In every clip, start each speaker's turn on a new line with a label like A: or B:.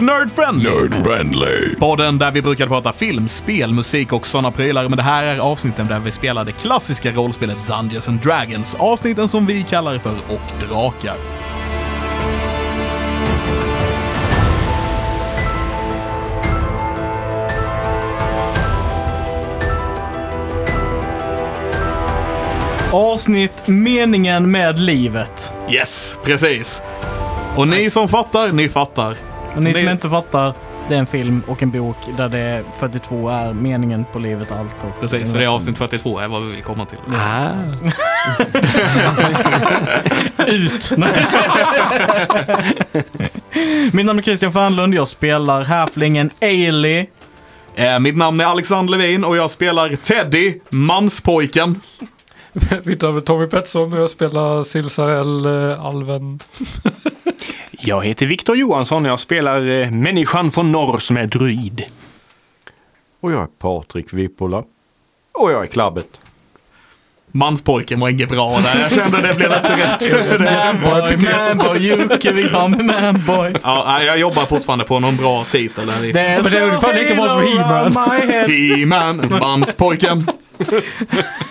A: Nerd Friendly!
B: Nerd friendly.
A: Podden där vi brukade prata film, spel, musik och sådana prylar. Men det här är avsnitten där vi spelar det klassiska rollspelet Dungeons and Dragons. Avsnitten som vi kallar för Och Drakar.
C: Avsnitt Meningen med livet.
A: Yes, precis. Och ni som fattar, ni fattar.
C: Och ni som
A: Ni-
C: inte fattar, det är en film och en bok där det 42 är meningen på livet och allt. Och
A: Precis, så det är avsnitt 42 är vad vi vill komma till.
D: Ah.
C: Ut! Nej. Mitt namn är Christian Fernlund, jag spelar häflingen Ailey.
A: Eh, mitt namn är Alexander Levin och jag spelar Teddy, manspojken.
E: Mitt namn är Tommy Pettersson och jag spelar Silsarell eh, Alven.
D: Jag heter Viktor Johansson och jag spelar eh, människan från norr som är druid.
F: Och jag är Patrik Vippola. Och jag är Klabbet.
A: Manspojken var inget bra där, jag kände det blev inte rätt.
C: Manboy, manboy, Jukki, vi har med manboy.
A: Ja, nej, jag jobbar fortfarande på någon bra titel. Där vi...
C: är
E: Men det är ungefär lika bra som He-Man.
A: He-Man, manspojken.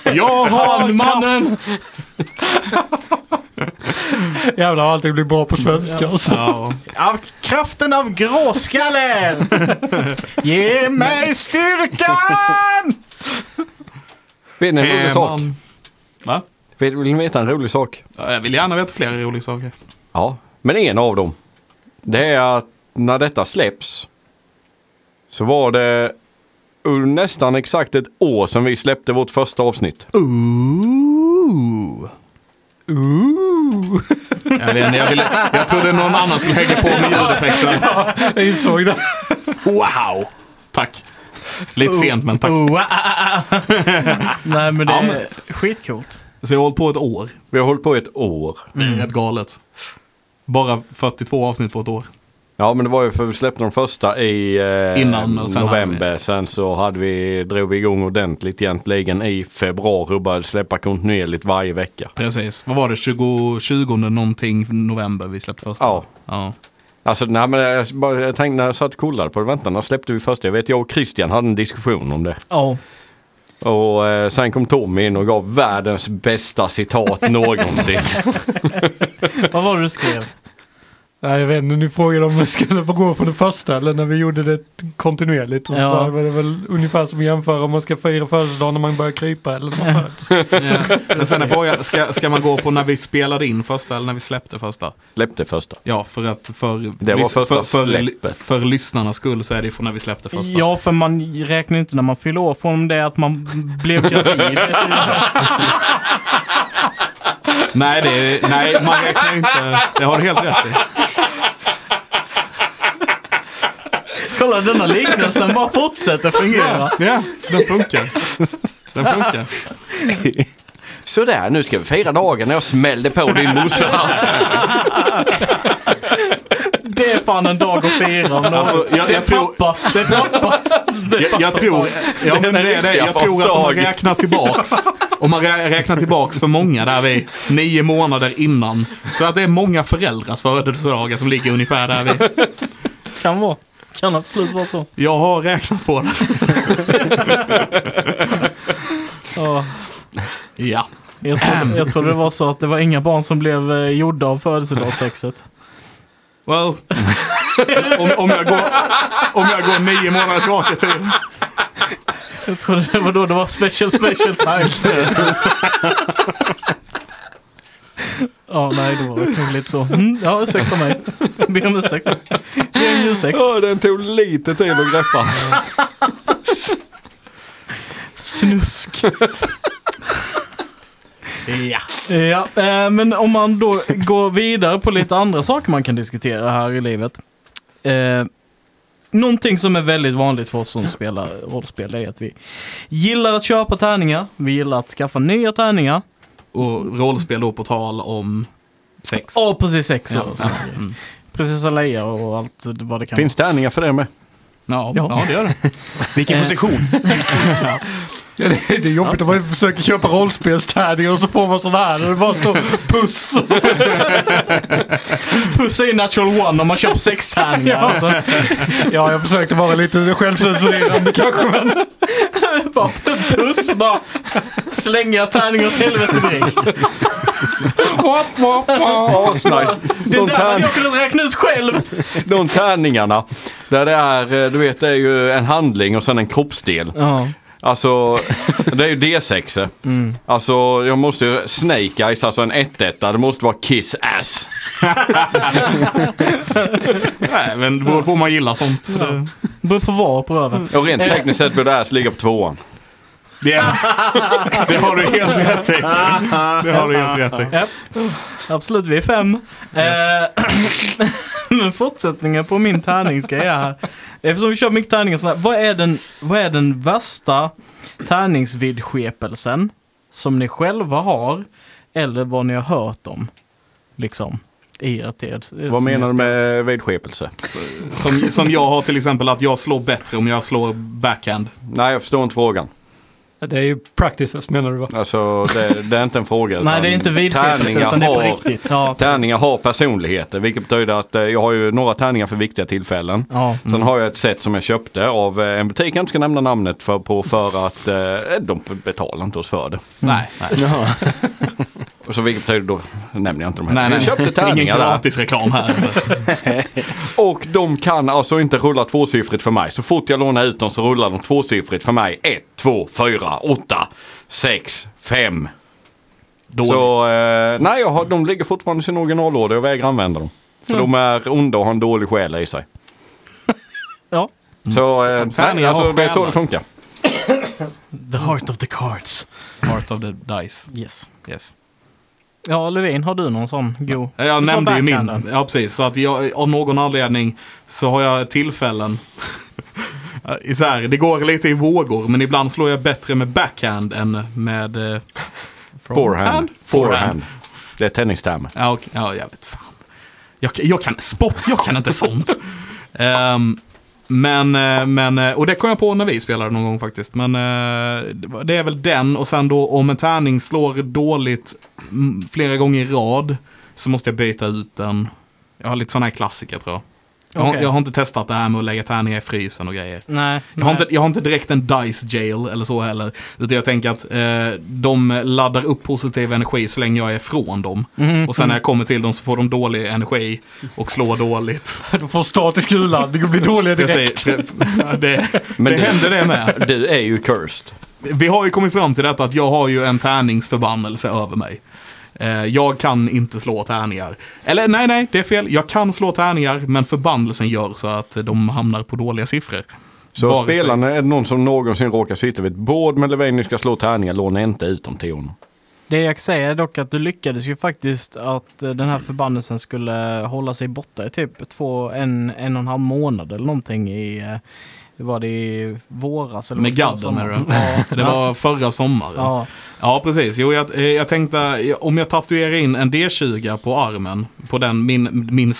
A: Jag har mannen.
E: Jävlar vad allting blir bra på svenska. Alltså.
A: Ja.
C: Av kraften av gråskallen! Ge mig styrkan!
F: Vet ni en rolig sak?
A: He-Man. Va?
F: Vet, vill ni veta en rolig sak?
A: Ja, Jag vill gärna veta fler roliga saker.
F: Ja, men en av dem. Det är att när detta släpps så var det ur nästan exakt ett år sedan vi släppte vårt första avsnitt.
A: Ooh. Jag, vet, inte, jag, ville, jag trodde någon annan skulle hänga på med ljudeffekterna.
E: Jag insåg det.
A: Wow! Tack. Lite sent men tack.
C: Oh, ah, ah, ah. Nej men det
A: Ja,
C: är
A: men-
C: skitcoolt.
A: Så jag har hållit på ett år.
F: Vi har hållit på i ett år.
A: Det är rätt galet. Bara 42 avsnitt på ett år.
F: Ja, men det var ju för vi släppte de första i eh,
A: Innan och sen
F: november. Sen så hade vi, drog vi igång ordentligt egentligen i februari och började släppa kontinuerligt varje vecka.
A: Precis. Vad var det? 20, 20 någonting november vi släppte första?
F: Ja.
A: ja.
F: Alltså nej men jag, bara, jag tänkte när jag satt och kollade på det, vänta när släppte vi första? Jag vet jag och Christian hade en diskussion om det.
C: Ja.
F: Och eh, sen kom Tommy in och gav världens bästa citat någonsin.
C: Vad var det du skrev?
E: Nej jag vet inte, ni frågade om vi skulle gå från det första eller när vi gjorde det kontinuerligt. Och
C: Ja.
E: så var det väl ungefär som att jämföra om man ska fira födelsedag när man börjar krypa eller när man föds.
A: Men sen är frågan, ska, ska man gå på när vi spelade in första eller när vi släppte första?
F: Släppte första.
A: Ja, för att för,
F: Det var
A: lys-
F: första
A: för, för,
F: släppet.
A: för lyssnarnas skull så är det från när vi släppte första.
C: Ja för man räknar inte när man fyller år från det att man blev gravid.
A: Nej, det, är- nej, man räknar inte. Det har du helt rätt i.
C: Kolla denna liknelsen bara fortsätter fungera.
A: Ja, den funkar. Den funkar.
F: Sådär, nu ska vi fira dagen när jag smällde på din morsa.
C: Det är fan en dag att fira om något.
A: Alltså, jag, jag tror...
C: Pappas, det pappas.
A: Jag, jag tror, ja, men det, är det, jag tror att om man
F: Dag.
A: räknar tillbaks, om man rä- räknar tillbaks för många där vi nio månader innan, så att det är många föräldrars födelsedagar som ligger ungefär där vi.
C: Kan vara. Kan absolut vara så.
A: Jag har räknat på det.
C: Ja.
A: Ja.
C: Jag trodde, jag trodde det var så att det var inga barn som blev eh, gjorda av födelsedagssexet.
A: Well, om, om, jag går, om jag går nio månader tillbaka i tiden.
C: Jag trodde det var då det var special special time. Ja, nej, det var kanske lite så. Mm, ja, ursäkta mig. Be om ursäkt. Be om ursäkt.
F: Ja, den tog lite tid att greppa.
C: Snusk.
A: Ja.
C: Ja, eh, men om man då går vidare på lite andra saker man kan diskutera här i livet. Eh, någonting som är väldigt vanligt för oss som spelar rollspel är att vi gillar att köpa tärningar, vi gillar att skaffa nya tärningar.
A: Och rollspel då på tal om sex.
C: Ja, precis sex
A: Ja,
C: år.
A: ja.
C: Precis Leia och allt vad det kan
F: Finns tärningar för det med?
A: Ja,
C: Ja.
A: ja. det gör det.
D: Vilken position!
E: Ja, det, det är jobbigt om man försöker köpa rollspelstärningar och så får man sådana här. Och det bara står puss.
C: Pussa in natural one om man köper sex tärningar. alltså.
E: Ja, jag försökte vara lite självcensurerande kanske. Men
C: Bara puss, bara slänga tärningar åt helvete direkt.
F: Asnice.
C: Det
F: De,
C: där hade
F: tärn,
C: jag kunnat räkna ut själv.
F: de tärningarna. Där det är, eh, du vet, det är ju en handling och sen en kroppsdel.
C: Ja.
F: Alltså, det är ju D6. Alltså, jag måste ju... Snake Eyes, alltså en 1-1. Det måste vara Kiss Ass.
A: Nej, men det beror på om man gillar sånt. Det-
C: Beror på var på röven.
F: Och rent tekniskt sett borde Ass ligga på tvåan.
A: Det, det har du helt rätt i. Det har du helt rätt i.
C: Japp. Absolut, vi är fem. Eh, Men fortsättningen på min tärningsgrej här. Eftersom vi kör mycket tärningar sådär. Vad är den, vad är den värsta tärningsvidskepelsen som ni själva har? Eller vad ni har hört om? Liksom. I ert, ert,
F: Vad menar du med vidskepelse?
A: Som, som jag har till exempel att jag slår bättre om jag slår backhand.
F: Nej, jag förstår inte frågan.
E: det är ju practices menar du va?
F: Alltså, det, det är inte en fråga.
C: Nej,
F: utan
C: det är inte vidskepelse
F: tärningar
C: utan det är på
F: har-
C: riktigt. Ja,
F: Tärningar har personligheter, vilket betyder att eh, jag har ju några tärningar för viktiga tillfällen.
C: Ja. Mm.
F: Sen har jag ett set som jag köpte av eh, en butik jag inte ska nämna namnet för, på för att eh, de betalar inte oss för det.
C: Mm.
A: Nej, nej.
F: Och Så vilket betyder då nämner jag inte de här.
A: nej, nej.
F: Jag köpte
A: Ingen
F: tärningar där.
A: gratis reklam här.
F: Och de kan alltså inte rulla tvåsiffrigt för mig. Så fort jag lånar ut dem så rullar de tvåsiffrigt för mig. 1, 2, 4, 8, 6, 5.
A: Dåligt.
F: Så eh, nej, jag har, de ligger fortfarande i sin originallåda. Jag vägrar använda dem. För de är onda och har en dålig själ i sig.
C: ja.
F: Så eh, nej,
A: Mm. Tärningar
F: alltså,
A: har
F: det är så
A: själar.
F: det funkar.
C: The heart of the cards.
A: Heart of the dice.
C: Yes.
A: Yes.
C: Ja, Levin, har du någon sån god?
A: Jag
C: Som
A: nämnde ju
C: backhanden.
A: min. Ja, precis. Så att jag, av någon anledning så har jag tillfällen. I så här, det går lite i vågor, men ibland slår jag bättre med backhand än med... Eh,
F: Forehand.
A: Forehand.
F: Det är tennistermer.
A: Ja, okej. ja jag vet fan. Jag, jag kan sport, jag kan inte sånt. Ehm, men, eh, men, eh, och det kom jag på när vi spelade någon gång faktiskt. Men eh, det var- det är väl den och sen då om en tärning slår dåligt mm, flera gånger i rad så måste jag byta ut den. Jag har lite sådana här klassiker tror jag. Jag, har,
C: Okej.
A: jag har inte testat det här med att lägga tärningar i frysen och grejer.
C: Nej.
A: Jag har,
C: nej.
A: inte, jag har inte direkt en dice jail eller så heller. Utan jag tänker att eh, de laddar upp positiv energi så länge jag är från dem.
C: Mhm.
A: Och sen när jag kommer till dem så får de dålig energi och slår dåligt.
E: De får statisk urladdning och blir dåliga
A: Jag
E: direkt.
A: säger, det, det,
F: Men
A: det
F: det-
A: händer det med.
F: Du är ju cursed.
A: Vi har ju kommit fram till detta att jag har ju en tärningsförbannelse över mig. Eh, jag kan inte slå tärningar. Eller nej, nej, det är fel. Jag kan slå tärningar, men förbannelsen gör så att de hamnar på dåliga siffror.
F: Så
A: Vare sig-
F: spelarna, är det någon som någonsin råkar sitta vid ett bord med Levin, ni ska slå tärningar, låna inte ut dem till honom.
C: Det jag säger är dock att du lyckades ju faktiskt att eh, den här förbannelsen skulle hålla sig borta i typ två, en, en och en halv månad eller någonting i, eh, var det i våras? Eller
A: Med
C: vad fan
A: gadden, menar
C: som-
A: du?
C: Ja,
A: Det var förra sommaren.
C: ja.
A: Ja, precis. Jo, jag, eh, jag tänkte eh, om jag tatuerar in en D20 på armen, på den, min, min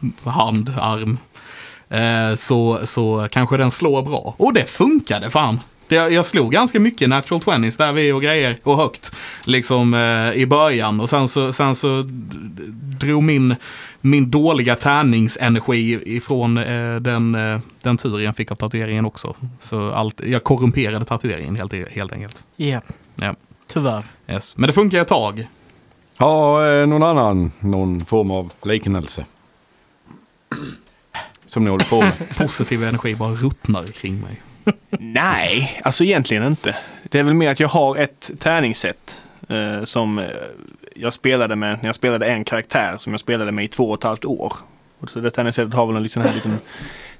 A: slå-hand, arm, eh, så, så kanske den slår bra. Och det funkade fan. Det, jag slog ganska mycket natural 20s där vi och grejer och högt. Liksom eh, i början och sen så, sen så d- d- drog min, min dåliga tärningsenergi ifrån eh, den, eh, den turen jag fick av tatueringen också. Så allt, jag korrumperade tatueringen helt, helt enkelt.
C: Ja,
A: Ja.
C: tyvärr.
A: Yes. Men det funkar ett tag.
F: Ja, eh, någon annan, någon form av liknelse. Som ni håller på med.
A: Positiv energi bara ruttnar kring mig.
D: Nej, alltså egentligen inte. Det är väl mer att jag har ett tärningssätt eh, som eh, jag spelade med när jag spelade en karaktär som jag spelade med i två och ett halvt år. Och så det tärningssättet har väl en liten, här liten,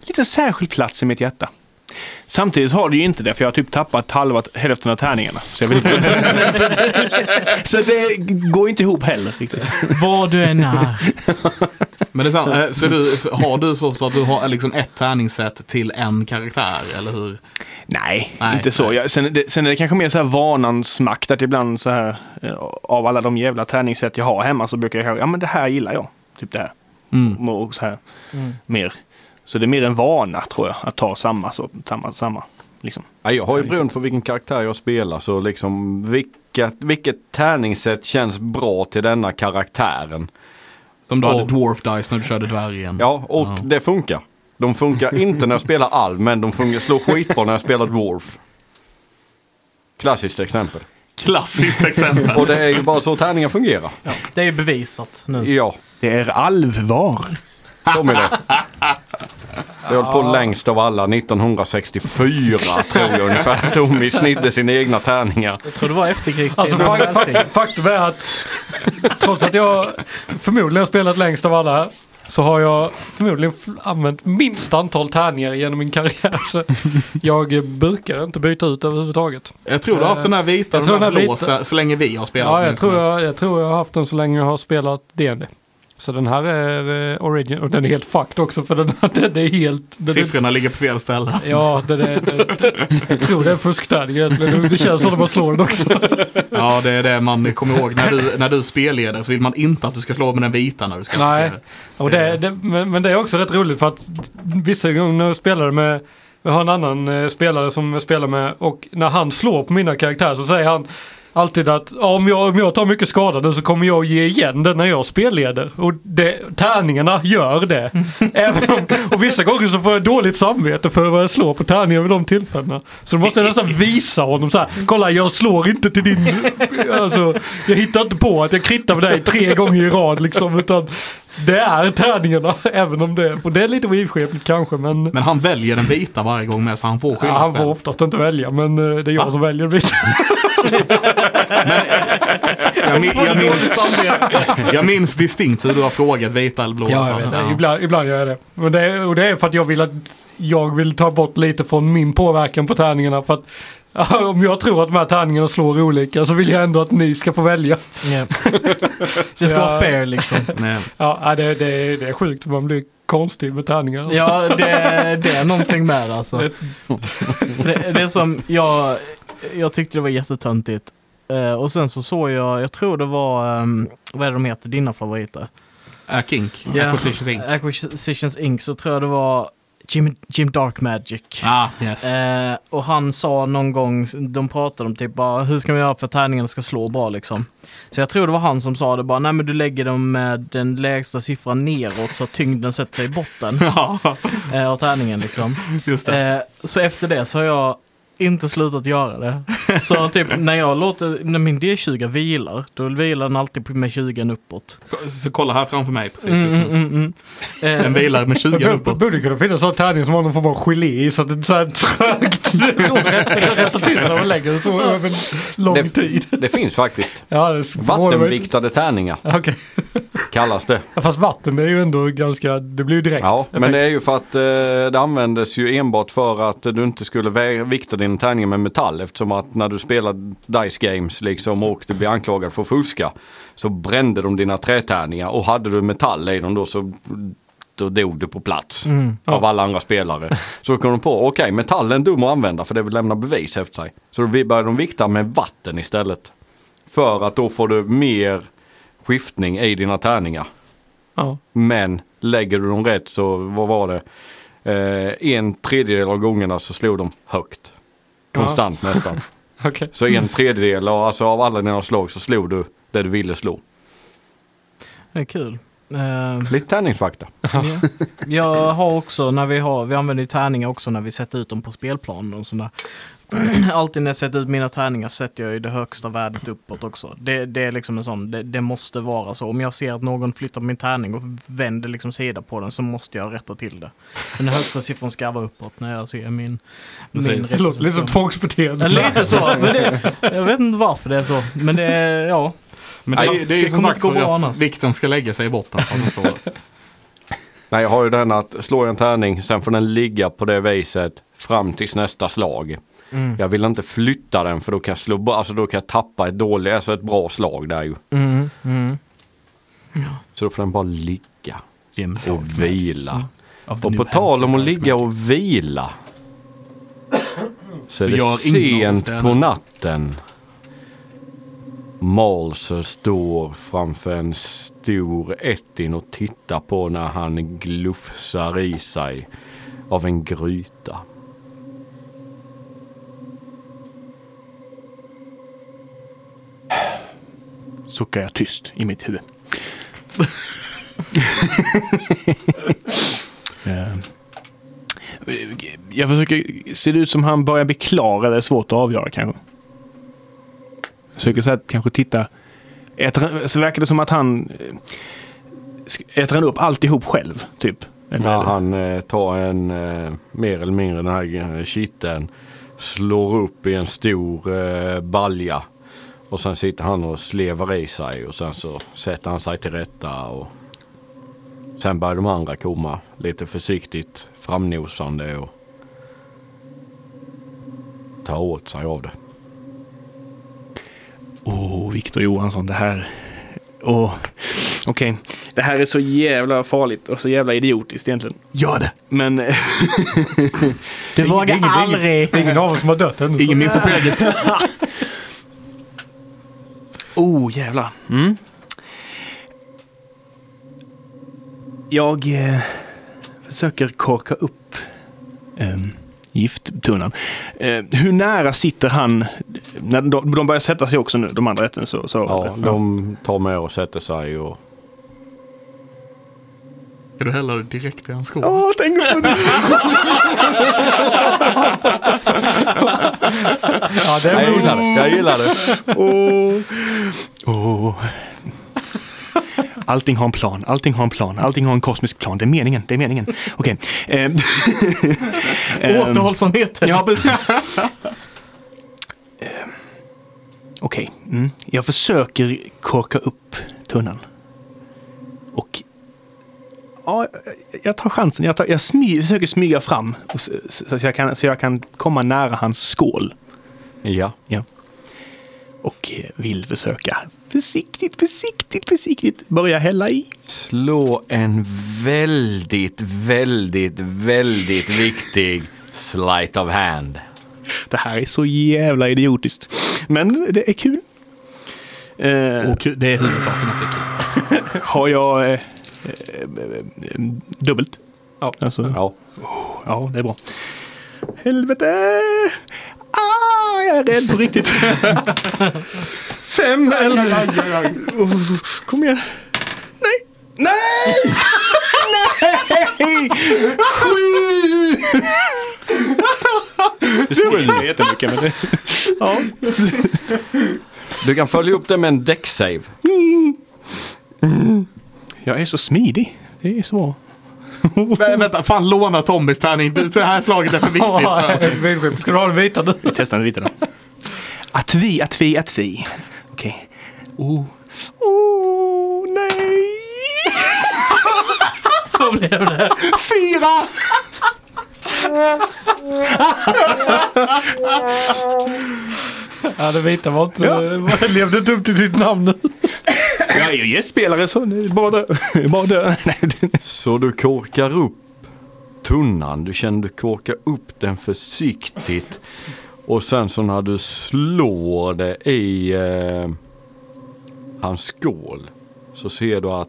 D: liten särskild plats i mitt hjärta. Samtidigt har det ju inte det, för jag har typ tappat halva, hälften av tärningarna. Så, jag vill inte... så det går inte ihop heller riktigt.
C: Var du än är.
A: Men det är så, här, eh, så du, så har du så, så att du har liksom ett tärningssätt till en karaktär, eller hur?
D: Nej,
A: Nej,
D: inte så.
A: nej.
D: Jag, sen, det, sen är det kanske mer så här vanans makt att ibland så här eh, av alla de jävla tärningssätt Mm. jag har hemma så brukar jag ja men det här gillar jag. Typ det här. Och så här mer Så det är mer en vana tror jag att ta samma. Så, samma, samma liksom.
F: Ja, jag har ju beroende på vilken karaktär jag spelar så liksom vilket, vilket tärningssätt känns bra till denna karaktären.
A: Som du hade
F: Och-
A: Dwarf Dice när du körde dvärgen.
F: Ja, och det funkar. De funkar inte när jag spelar alv, men de funkar, slår skitbra när jag spelar dwarf. Klassiskt exempel.
A: Klassiskt exempel.
F: Och det är ju bara så tärningar fungerar.
C: Det är bevisat nu.
F: Ja,
D: Det är alvvar.
F: de är det. Jag höll på längst av alla 1964 tror jag ungefär. Tommy snidde sina egna tärningar.
C: Jag tror det var efterkrigstid.
E: Alltså fak- fak- faktum är att trots att jag förmodligen har spelat längst av alla här så har jag förmodligen f- använt minst antal tärningar genom min karriär. Så jag eh, brukar inte byta ut överhuvudtaget.
A: Jag tror du har haft den här vita och
E: tror
A: den här
E: den här
A: blå
E: vita-
A: så, så länge vi har spelat.
E: Ja, jag
A: åtminstone.
E: tror jag, jag tror jag har haft den så länge jag har spelat D&D. Så den här är eh, origin och den är helt fucked också för den, här- den är helt... Den är,
A: Siffrorna ligger på fel ställe.
E: ja, den är... Den, jag tror det är en fusktärning egentligen. Det känns som att man slår den också.
A: Ja, det är det man kommer ihåg. När du, när du spelleder så vill man inte att du ska slå med den vita när du ska Eh.
E: Nej,
A: spela.
E: och det, det, men, men det är också rätt roligt för att vissa gånger när jag spelade med, jag har en annan eh, spelare som jag spelar med och när han slår på mina karaktärer så säger han alltid att ja, om, jag, om jag tar mycket skada nu så kommer jag ge igen det när jag spelleder. Och det, tärningarna gör det. Även om, och vissa gånger så får jag dåligt samvete för vad jag slår på tärningar vid de tillfällena. Så då måste jag nästan visa honom så här, kolla jag slår inte till din, alltså jag hittar inte på att jag krittar med dig tre gånger i rad liksom utan det är tärningarna, även om det, och det är lite oivskepligt kanske men,
A: Men han väljer den vita varje gång med så han får
E: ja,
A: skillnad.
E: han får oftast inte välja men eh, det är jag som väljer det.
A: jag, min, jag, minns, jag minns distinkt hur du har frågat vita eller blå.
E: Ja, jag vet. det. Ibland, ibland gör jag det. Men det är, och det är för att jag vill att jag vill ta bort lite från min påverkan på tärningarna. För att om jag tror att de här tärningarna slår olika så vill jag ändå att ni ska få välja.
C: Ja. Det ska
E: jag-
C: vara fair liksom.
A: Nej.
E: Ja, nej, det, det, det är sjukt. Man blir konstig med tärningar. alltså.
C: Ja, det, det är någonting med det, alltså. Det, det är som, jag, jag tyckte det var jättetöntigt. Eh, och sen så såg jag, jag tror det var, ehm, vad är det de heter, dina favoriter?
A: Äh, kink.
C: Ja. Äh,
A: Acquisitions Inc.
C: Acquisitions Inc. Så tror jag det var Jim, Jim Dark Magic.
A: Ah, yes.
C: Eh, och han sa någon gång, de pratade om typ bara, hur ska man göra för att tärningarna ska slå bra liksom. Så jag tror det var han som sa det bara, nej men du lägger dem med den lägsta siffran neråt så att tyngden sätter sig i botten
A: Ja,
C: eh, av tärningen liksom.
A: just det.
C: Eh, så efter det så har jag inte slutat göra det. Så typ när jag låter, när min D20 vilar, då vilar den alltid med 20 uppåt.
A: Så kolla här framför mig precis
C: Mm,
A: just
C: mm,
A: nu.
C: mm, mm.
A: Den
C: Eh,
A: vilar med 20
E: Det Alltså, borde-
A: uppåt.
E: borde kunna finnas en tärning som har någon form av gelé i så att det är så här trögt. Rätta till sig när man lägger det så över en lång tid.
F: Det, det finns faktiskt.
E: Ja, det är så-
F: Vattenviktade tärningar
E: Okej.
F: kallas det.
E: Ja, Fast vatten det är ju ändå ganska, det blir ju direkt.
F: Ja, men det är ju för att eh, det användes ju enbart för att du inte skulle vä- vikta din tärning med metall eftersom att när du spelar Dice Games liksom och du blir anklagad för att fuska så brände de dina trätärningar och hade du metall i dem då så då dog du på plats av alla andra spelare. Så kom de på, okej metall är en dum att använda för det vill lämna bevis efter sig. Så då började de vikta med vatten istället. För att då får du mer skiftning i dina tärningar.
E: Ja.
F: Men lägger du dem rätt så, vad var det? Eh, en tredjedel av gångerna så slog de högt. Konstant nästan.
E: Okej.
F: Så en tredjedel av- alltså, av alla dina slag så slog du det du ville slå.
C: det är kul. Eh,
F: Lite tärningsfakta.
C: Ja. Jag har också, när vi har, vi använder ju tärningar också när vi sätter ut dem på spelplanen och sådär. Alltid när jag sätter ut mina tärningar sätter jag ju det högsta värdet uppåt också. Det, det är liksom en sån, det, det måste vara så. Om jag ser att någon flyttar min tärning och vänder liksom sida på den så måste jag rätta till det. Den högsta siffran ska vara uppåt när jag ser min, min
A: Precis.
E: Det låter lite
C: representation. Ja,
E: som tvångsbeteende.
C: lite så, men det, jag vet inte varför det är så. Men det är, ja.
A: Men det, är- det är ju
C: Det
A: som
C: kommer
A: sagt
C: inte gå
A: så
C: bra
A: att
C: annars.
A: vikten ska lägga sig i botten. så att den slår.
F: Nej, jag har ju den att slår jag en tärning, sen får den ligga på det viset fram tills nästa slag.
C: Mm.
F: Jag vill inte flytta den för då kan jag, slå, bo- alltså, då kan jag tappa ett dåligt, alltså ett bra slag där ju.
C: Mm, mm.
F: Så då får den bara ligga
A: Jim.
F: och vila.
A: Av the
F: Och
A: new
F: på tal om att
A: Hampshire.
F: ligga och vila. Så, är det
A: gör ingen av oss
F: sent
A: det,
F: på
A: eller?
F: natten. Malser står framför en stor ettin och tittar på när han glufsar i sig av en gryta.
D: Suckar jag tyst i mitt huvud. Eh, jag försöker, ser det ut som han börjar bli klar eller är svårt att avgöra kanske? Jag försöker så här, kanske titta. Äter, han- så verkar det som att han eh, sk- äter han upp alltihop själv, typ? Eller,
F: När han eh, tar en, eh, mer eller mindre den här eh, kitteln, slår upp i en stor eh, balja. Och sen sitter han och slevar i sig och sen så sätter han sig till rätta. Och sen börjar de andra komma lite försiktigt framnosande och ta åt sig av det.
D: Åh, Viktor Johansson, det här... Åh, okej. Det här är så jävla farligt och så jävla idiotiskt egentligen. Gör det! Men... eh,
C: Du vågar
E: ingen-
C: aldrig.
E: Det är ingen av oss som har dött än.
A: Ingen minns sitt eget.
D: Oh, jävlar. Mm. Jag eh, försöker korka upp eh, gifttunnan. Eh, hur nära sitter han? När de, de börjar sätta sig också nu, de andra rätten. Så, så
F: Ja, de tar med och sätter sig och
A: Ska du hälla det direkt i hans skål?
D: Åh, tänk på det!
E: Ja, det är
F: gillar det. Jag gillar det.
D: Åh. Åh. Allting har en plan, allting har en plan, allting har en kosmisk plan. Det är meningen, det är meningen. Okej. Eh, ehm,
A: Återhållsamheten.
D: Ja, precis. Ehm, Okej, mm. jag försöker korka upp tunnan. Och ja, jag tar chansen. Jag, tar, jag smy, försöker smyga fram och, s- s- så, att jag kan, så jag kan komma nära hans skål.
F: Ja.
D: Och eh, vill försöka försiktigt, försiktigt, försiktigt börja hälla i.
F: Slå en väldigt, väldigt, väldigt viktig sleight of hand.
D: Det här är så jävla idiotiskt. Men det är kul. Eh,
A: Och kul- det är huvudsaken att det är kul.
D: Har jag eh, eh, eh, dubbelt?
E: Ja.
D: Alltså, ja.
F: Ja.
D: det är bra. Helvete! Ah, jag är rädd på riktigt. Fem eller... Oh, Kom igen. Nej! Nej! Nej! Sju! Du skriker jättemycket. Men det... ja.
F: Du kan följa upp det med en deck-save.
D: Jag är så smidig. Det är så bra.
A: Vä- Vänta, fan låna Tommys tärning. Det det här slaget är för viktigt.
E: viktigt. Ska du ha den vita nu?
D: Vi testar den vita då. Att vi, att vi, att vi. Okej. Oh. Oh, nej!
A: Fyra!
E: Ja, den vita var inte... Levde inte upp till sitt namn nu.
D: Jag är ju gästspelare så det är bara dö. Bara dö. Nej, det-
F: Så du korkar upp tunnan. Du känner du korkar upp den försiktigt. Och sen så när du slår det i eh, hans skål så ser du att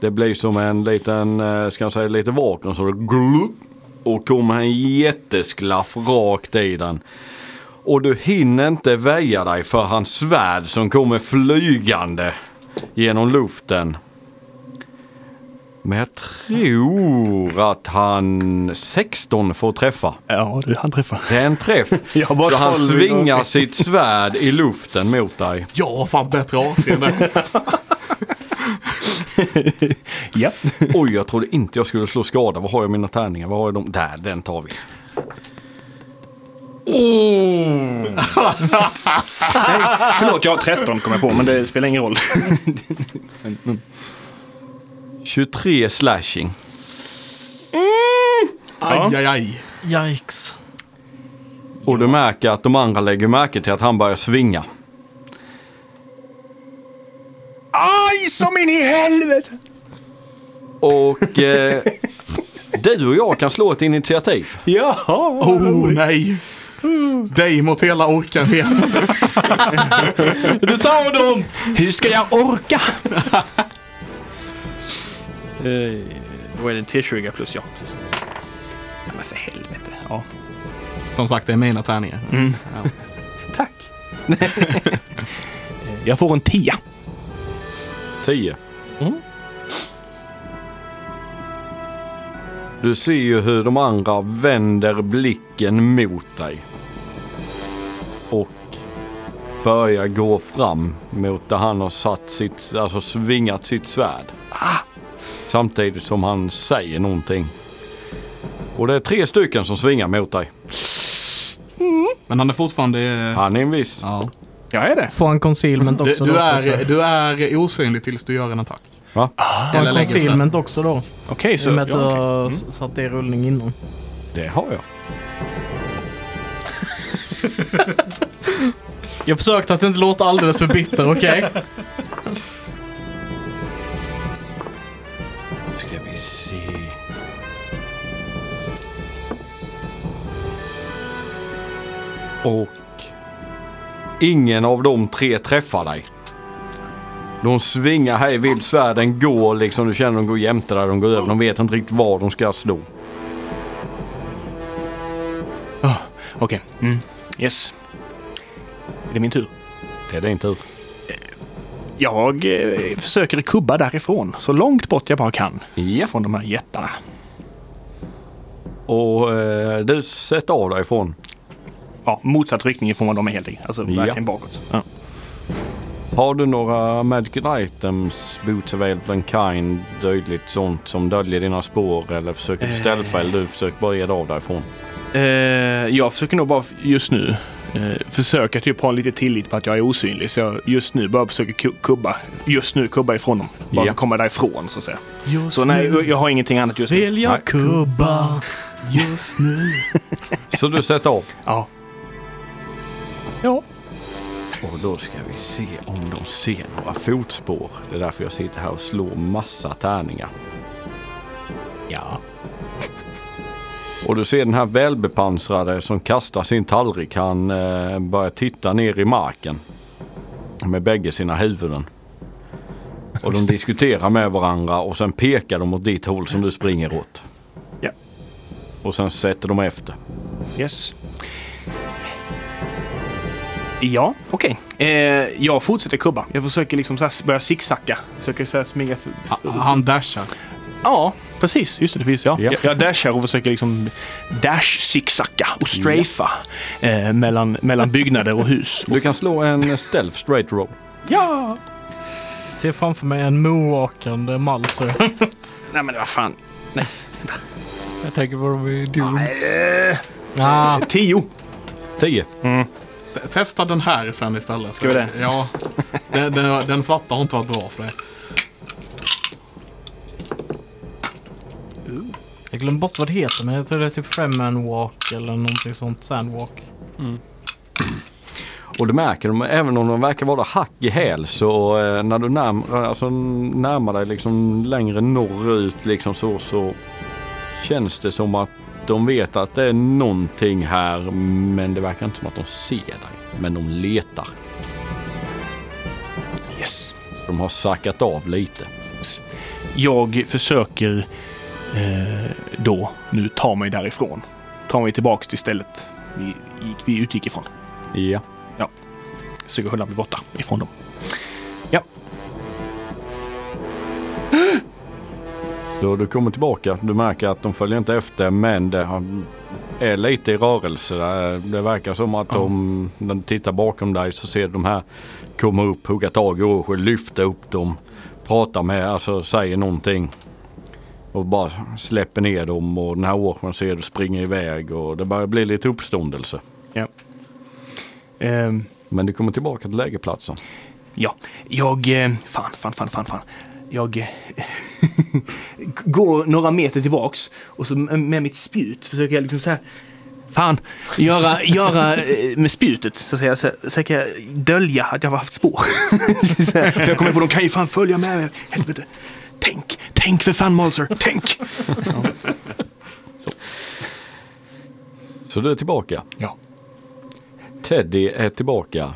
F: det blir som en liten, eh, ska jag säga lite vakuum så det glup, och kommer en jättesklaff rakt i den. Och du hinner inte väja dig för hans svärd som kommer flygande genom luften. Men jag tror att han 16 får träffa.
D: Ja, du han träffar.
F: Det är en träff.
D: Jag har bara
F: Så han
D: tolv i
F: svingar
D: någonsin.
F: sitt svärd i luften mot dig.
A: Jag har fan bättre AC än det.
D: Ja.
F: Oj, jag trodde inte jag skulle slå skada. Vad har jag mina tärningar? Vad har jag dem? Där, den tar vi.
D: Förlåt, jag har 13 kommer jag på, men det spelar ingen roll.
F: 23 slashing.
A: Aj, aj, aj.
C: Yikes.
F: Och du märker att de andra lägger märke till att han börjar svinga.
D: Aj, som in i helvete!
F: Och eh, du och jag kan slå ett initiativ.
D: Jaha, vad
A: Oh,
D: roligt.
A: nej.
C: Mm.
A: Dig mot hela orken igen.
C: Du tar dem!
D: Hur ska jag orka? Eh, Då är det en T20 plus ja, precis. Nej, men för helvete. Ja.
A: Som sagt, det är mina tärningar.
D: Tack. jag får en tia.
F: 10. Du ser ju hur de andra vänder blicken mot dig. Och börjar gå fram mot där han har satt sitt, alltså svingat sitt svärd. Samtidigt som han säger någonting. Och det är tre stycken som svingar mot dig.
A: Men han är fortfarande...
F: Han är envis.
A: Ja.
D: Jag är det.
C: Får han concealment
A: Du,
C: också
A: du,
C: då?
A: är, du är osynlig tills du gör en attack.
F: Va?
C: Får han
A: lägger spel.
C: concealment också då?
D: Okej,
C: I
D: så...
C: och med att du
D: ja, okej.
C: har s- satt det i rullning innan.
F: Det har jag.
C: Jag försökte att inte låta alldeles för bitter, okej?
F: ska vi se. Och ingen av de tre träffar dig. De svingar här i vild svärden, går liksom, du känner de går jämte där, de går över, de vet inte riktigt var de ska slå.
D: Okej. Mm. Yes. Är det min tur?
F: Det är din tur.
D: Jag eh, försöker kubba därifrån, så långt bort jag bara kan.
F: Ja.
D: Från de här jättarna.
F: Och eh, du sätter av dig ifrån.
D: Ja, motsatt riktning ifrån vad de är helt i. Alltså
F: Ja.
D: verkligen bakåt. Ja.
F: Har du några magic items, boots of elven kind, dödligt sånt som döljer dina spår eller försöker du stealtha eller du försöker bara ge dig av dig ifrån?
D: Eh, jag försöker nog bara f- just nu eh, försöka typ ha lite tillit på att jag är osynlig. Så jag just nu bara försöker ku- kubba. Just nu kubba ifrån dem. Bara
F: Ja.
D: komma därifrån så att säga. så nej, jag har ingenting annat just nu.
C: Vill jag kubba?
A: Just nu.
F: Så du sätter av?
D: Ja. Ja.
F: Och då ska vi se om de ser några fotspår. Det är därför jag sitter här och slår massa tärningar.
D: Ja.
F: Och du ser den här välbepansrade som kastar sin tallrik. Han eh, börjar titta ner i marken. Med bägge sina huvuden. Och de diskuterar med varandra och sen pekar de åt ditt håll som du springer åt.
D: Ja.
F: Och sen sätter de efter.
D: Yes. Ja, okej. Eh, jag fortsätter kubba. Jag försöker liksom så här börja zigzacka. Försöker så här smyga... f- f-
A: Han dashar.
D: Ja, precis. Just det, det finns ja.
F: Ja.
D: Jag, jag dashar och försöker liksom dash zigzacka och strafa eh, mellan, mellan byggnader och hus.
F: Du kan slå en stealth straight roll.
D: Ja!
C: Ser framför mig en moonwalkande Malser.
D: Nej men vad fan.
E: Jag tänker på Robbie Doom.
D: Eh,
C: ah,
D: tio.
F: 10.
A: T- Testa den här sen istället.
D: Ska vi det?
A: Ja. Den, den, den svarta har inte varit bra för det.
C: jag glömde bort vad det heter, men jag tror det är typ Fremman Walk eller någonting sånt. Sandwalk.
F: Och det märker de, även om de verkar vara hack i häl så eh, när du närm- alltså, närmar dig liksom längre norrut liksom så, så känns det som att de vet att det är någonting här men det verkar inte som att de ser dig. Men de letar.
D: Yes.
F: De har sackat av lite.
D: Jag försöker eh, då nu ta mig därifrån. Ta mig tillbaks till stället vi, vi utgick ifrån.
F: Ja.
D: Försöker hålla mig borta ifrån dem. Ja,
F: Då du kommer tillbaka, du märker att de följer inte efter men det har- är lite i rörelse. där. Det verkar som att de, när du tittar bakom dig så ser du de här komma upp, hugga tag i Orochi, lyfta upp dem, prata med, alltså säger någonting. Och bara släpper ner dem och den här Orchen ser du springer iväg och det börjar bli lite uppståndelse.
D: ja. Ehm,
F: Men du kommer tillbaka till lägerplatsen.
D: Ja, jag... eh, Fan, fan, fan, fan, fan. Jag eh, går några meter tillbaks och så med mitt spjut försöker jag liksom så här... Fan, göra, göra eh, med spjutet så att säga, så försöker jag dölja att jag har haft spår. Så här, för jag kommer på, de kan ju fan följa med mig. Helvete. Tänk, tänk för fan Malser, tänk!
F: Så du är tillbaka.
D: Ja.
F: Teddy är tillbaka.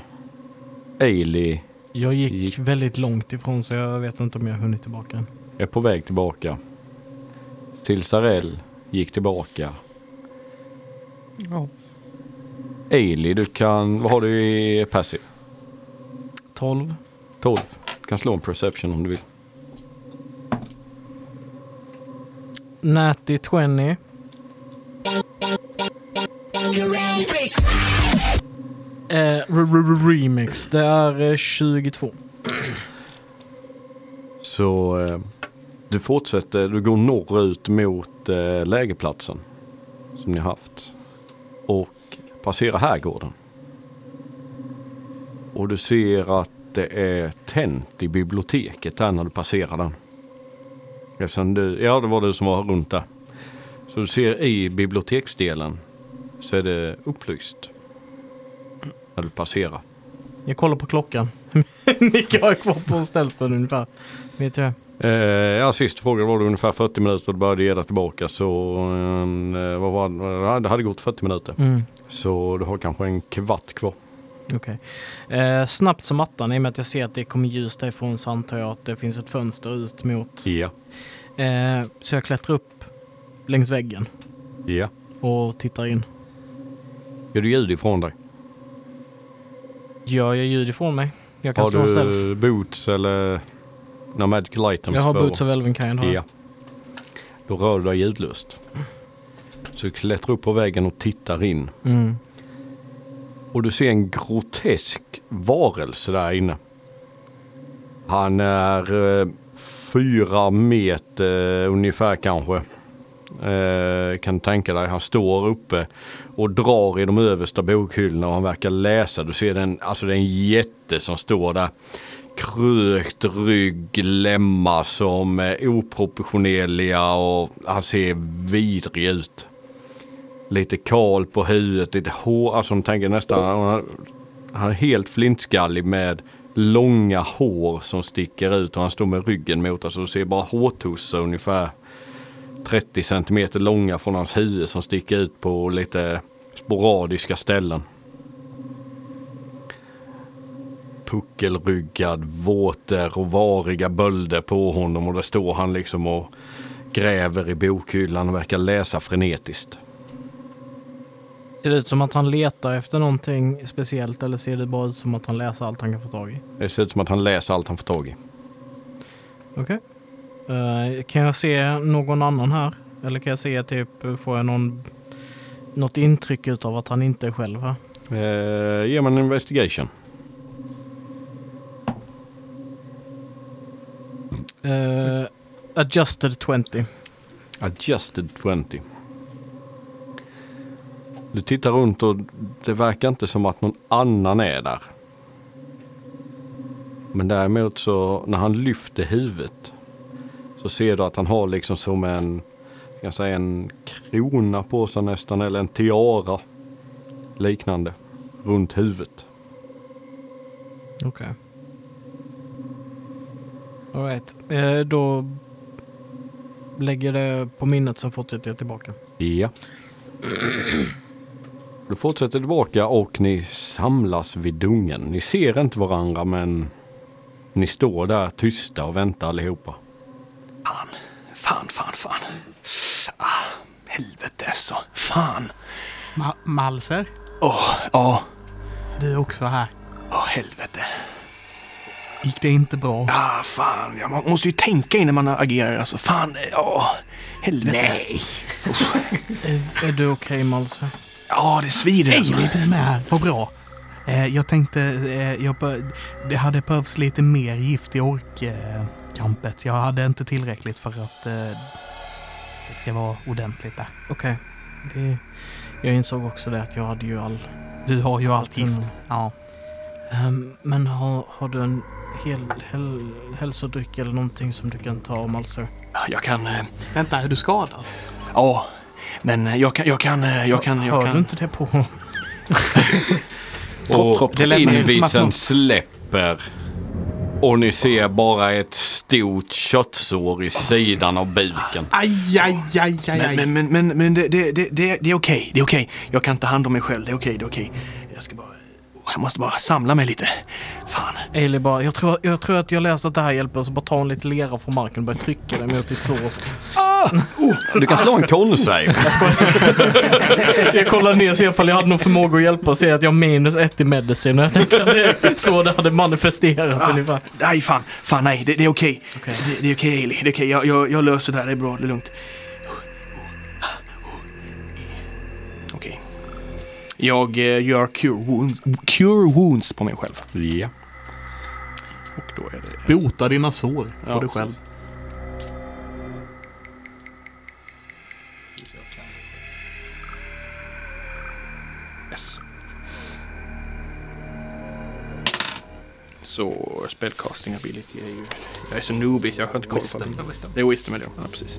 F: Ailey
C: Jag gick,
F: Gick.
C: väldigt långt ifrån så jag vet inte om jag har hunnit tillbaka. än.
F: är på väg tillbaka. Silsarell gick tillbaka.
E: Ja.
F: Ailey, du kan... Vad har du i passive?
C: 12.
F: 12. Du kan slå en perception om du vill.
C: Natty 20. Eh, re- re- re- remix, det är eh, 22.
F: Så eh, du fortsätter, du går norrut mot eh, lägerplatsen som ni har haft och passerar härgården. Och du ser att det är tänt i biblioteket där när du passerar den. Eftersom du, ja det var du som var runt där. Så du ser i biblioteksdelen så är det upplyst när du passerar.
C: Jag kollar på klockan. Micke har kvar på en ställfön ungefär. Vet jag.
F: Eh, ja, sist frågan var det ungefär 40 minuter och du började ge dig tillbaka så eh, vad var det? Ja, det hade gått 40 minuter.
C: Mm,
F: Så du har kanske en kvart kvar.
C: okej. eh, snabbt som attan, i och med att jag ser att det kommer ljus därifrån så antar jag att det finns ett fönster ut mot.
F: Ja.
C: Eh, så jag klättrar upp längs väggen
F: Ja.
C: och tittar in.
F: Gör du ljud ifrån dig?
C: Gör jag ljud ifrån mig? Jag kan
F: Har
C: slå en stealth.
F: du boots eller några magical items?
C: Jag har
F: för-
C: Boots of Elvenkind. har jag.
F: Ja. Då rör du dig ljudlöst. Så du klättrar upp på väggen och tittar in.
C: Mm.
F: Och du ser en grotesk varelse där inne. Han är eh, fyra meter ungefär kanske. Eh, kan du tänka dig. Han står uppe och drar i de översta bokhyllorna och han verkar läsa. Du ser den, alltså det är en jätte som står där. Krökt rygg, lemmar som är oproportionerliga och han ser vidrig ut lite kal på huvudet, lite hår. Alltså de tänker nästan, han- han är helt flintskallig med långa hår som sticker ut och han står med ryggen mot. Alltså du ser bara hårtussar ungefär 30 centimeter långa från hans huvud som sticker ut på lite sporadiska ställen. Puckelryggad, våter och variga bölder på honom och där står han liksom och gräver i bokhyllan och verkar läsa frenetiskt.
C: Ser det ut som att han letar efter någonting speciellt eller ser det bara ut som att han läser allt han kan få tag i?
F: Det ser ut som att han läser allt han får tag i.
C: Okej. Eh, kan jag se någon annan här? Eller kan jag se typ, får jag någon, något intryck utav att han inte är själv här?
F: Eh, ge mig en investigation.
C: Eh, adjusted 20.
F: Adjusted 20. Du tittar runt och det verkar inte som att någon annan är där. Men däremot så när han lyfter huvudet så ser du att han har liksom som en, jag kan säga en krona på sig nästan eller en tiara liknande runt huvudet.
C: Okej. Alright. Eh, då lägger det på minnet så fortsätter jag tillbaka.
F: Ja. Du fortsätter tillbaka och ni samlas vid dungen. Ni ser inte varandra men ni står där tysta och väntar allihopa.
D: Fan, fan, fan, fan. Ah, helvete så. Fan.
B: Ma- Malser,
D: Åh, ja.
B: du är också här.
D: Åh, helvete.
A: Gick det inte bra?
D: Ah, fan. Ja, man måste ju tänka innan man agerar alltså. Fan, ja. helvete. Nej.
C: Är, är du okej Malse?
D: Ja, det svider alltså.
B: Amy, du är med här. Vad bra. Eh, jag tänkte, eh, jag bör, det hade behövts lite mer gift i orkkampet. Jag hade inte tillräckligt för att eh, det ska vara ordentligt där.
C: Okej. Vi- Jag insåg också det att jag hade ju all...
B: Du har ju allt gift.
C: Mm.
B: Ja.
C: Ehm, men har, har du en hel, hel, hälsodryck eller någonting som du kan ta alltså? Malser?
D: Jag kan... eh,
B: Vänta, är du skadad?
D: Ja. men eh, jag kan... Jag kan... eh, Jag kan... Jag
C: Hör du
D: kan.
C: inte det på honom?
F: Och
D: tropp.
B: Det lämnar ju som att
F: invisen
B: någon-
F: släpper. Och ni ser bara ett stort köttsår i sidan av buken.
B: Aj, aj, aj, aj,
D: Men, men, men, men, men det, det, det, det, det är okej. Det är okej. Jag kan ta hand om mig själv. Det är okej, det är okej. Jag ska bara... jag måste bara samla mig lite. Fan.
C: Ailey bara, jag tror, jag tror att jag läste att det här hjälper, så bara ta en lite lera från marken och börja trycka den mot ditt sår.
F: Du kan slå en konsave.
C: Jag kollar ner och ser ifall jag hade någon förmåga att hjälpa och ser att jag har minus ett i medicin. Jag tänker att det är så det hade manifesterat
D: Ah,
C: ungefär.
D: nej, fan. Fan, nej. Det, det är okej.
C: Okej.
D: Det, det är okej, Ailey. Det är okej. Jag, jag, jag löser det här. Det är bra. Det är lugnt. Okej. Jag eh, gör cure wounds, cure wounds på mig själv.
F: Ja.
D: Och då är det...
A: Bota dina sår på
D: Ja,
A: dig själv.
D: Yes. Så spellcasting ability är ju... Jag är så noobig så jag har inte koll på det. Det är wisdom är det, ja precis.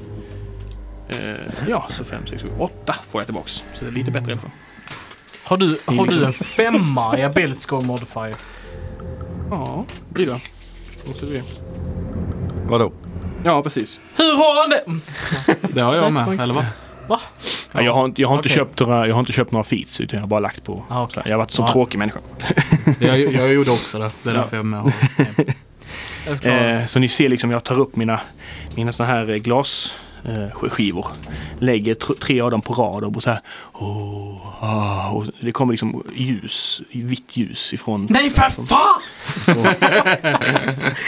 D: Eh, ja, så fem, sex, sju, åtta får jag tillbaks. Så det är lite bättre i alla fall.
C: Har du, har du en femma i ability score modifier?
D: Ja, blir det. Måste vi.
F: Vadå?
D: Ja, precis.
C: Hur har han det? Mm,
A: Det har jag med, eller vad?
D: Ja, jag, har, inte- jag, har inte
C: Okej.
D: köpt några, jag har inte köpt några feats utan jag har bara lagt på.
C: Ah, okej.
D: så här, Jag har varit så
C: Ja.
D: tråkig människa.
A: Jag, jag gjorde också det. Det är
D: Ja.
A: därför jag är med.
C: Jag förklarar.
D: Eh, så ni ser liksom jag tar upp mina, mina såna här eh, glas eh, sk- skivor. Lägger tr- tre av dem på rad och bara så här. "Åh, ah", och det kommer liksom ljus, vitt ljus ifrån.
C: Nej för fan!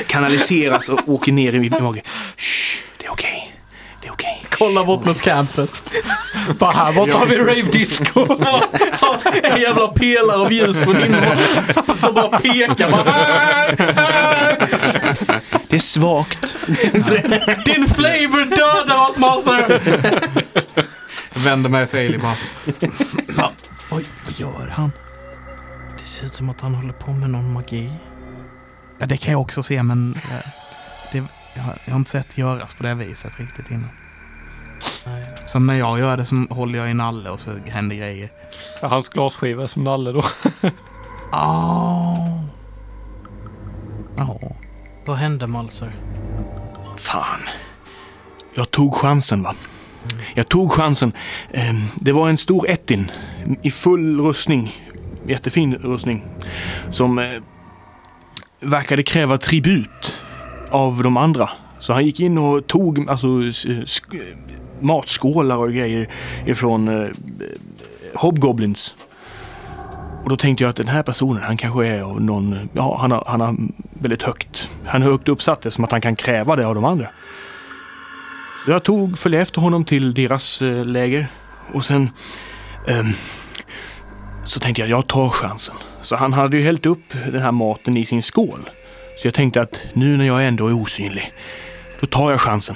D: Kanaliseras och åker ner i min mage. Shh, det är okej. Det är okej.
C: Kolla bort mot campet. Bara här borta har vi rave disco. en jävla pelare av ljus från himlen. Som bara pekar. Bara, "Här, här."
D: Det är svagt.
C: Din flavor dödar oss Monster!
A: Vänder mig till Ailey bara.
B: Oj, vad gör han?
C: Det ser ut som att han håller på med någon magi.
B: Ja, det kan jag också se, men eh, det, jag, har, jag har inte sett göras på det här viset riktigt innan.
C: Nej.
B: Som när jag gör det så håller jag i nalle och så händer grejer.
E: Ja, hans glasskiva är som nalle då.
B: Oh.
C: Vad hände Malser?
D: Fan. Jag tog chansen va. Jag tog chansen. Ehm, Det var en stor ettin i full rustning. Jättefin rustning. Som eh, verkade kräva tribut av de andra. Så han gick in och tog alltså, s- sk- matskålar och grejer ifrån eh, Hobgoblins. Och då tänkte jag att den här personen, han kanske är av någon, ja han har, han har väldigt högt, han är högt uppsatt eftersom att han kan kräva det av de andra. Så jag tog, följde efter honom till deras eh, läger och sen ehm, så tänkte jag, jag tar chansen. Så han hade ju hällt upp den här maten i sin skål. Så jag tänkte att nu när jag ändå är osynlig, då tar jag chansen.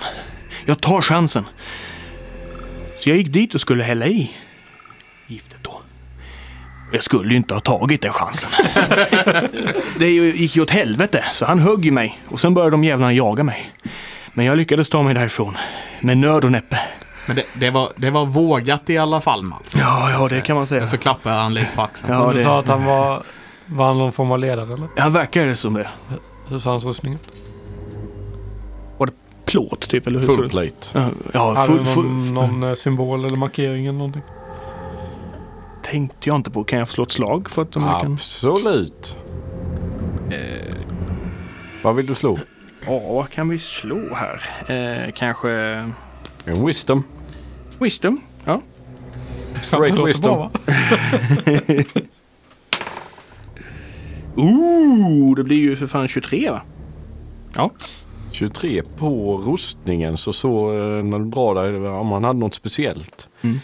D: Jag tar chansen. Så jag gick dit och skulle hälla i giftet då. Jag skulle ju inte ha tagit den chansen. det ju- gick ju åt helvete, så han högg ju mig. Och sen började de jävlarna jaga mig. Men jag lyckades ta mig därifrån. Med nöd och näppe.
A: Men det, det, var, det var vågat i alla fall Mats.
D: Ja, ja, det kan man säga.
A: Och så klappar han lite på axeln.
D: Ja,
E: du sa
D: det,
E: att han var, var han någon form av ledare eller?
D: han verkade som det.
E: Hur såg hans rustning ut?
D: Plåt, typ, eller hur?
F: Full plate.
D: Ja,
E: Hade
D: full,
E: han någon,
D: full,
E: någon eh, symbol eller markering eller någonting?
D: tänkte jag inte på. Kan jag få slå ett slag för att de kan...
F: Absolut. Eh, Vad vill du slå?
D: Ja, vad kan vi slå här? Eh, kanske...
F: En wisdom.
D: Wisdom? Ja.
E: Great
F: Straight wisdom.
D: Ooh, det blir ju för fan 23 va?
F: 23 på rustningen så så eh, när du drar där om han hade något speciellt.
D: Mm.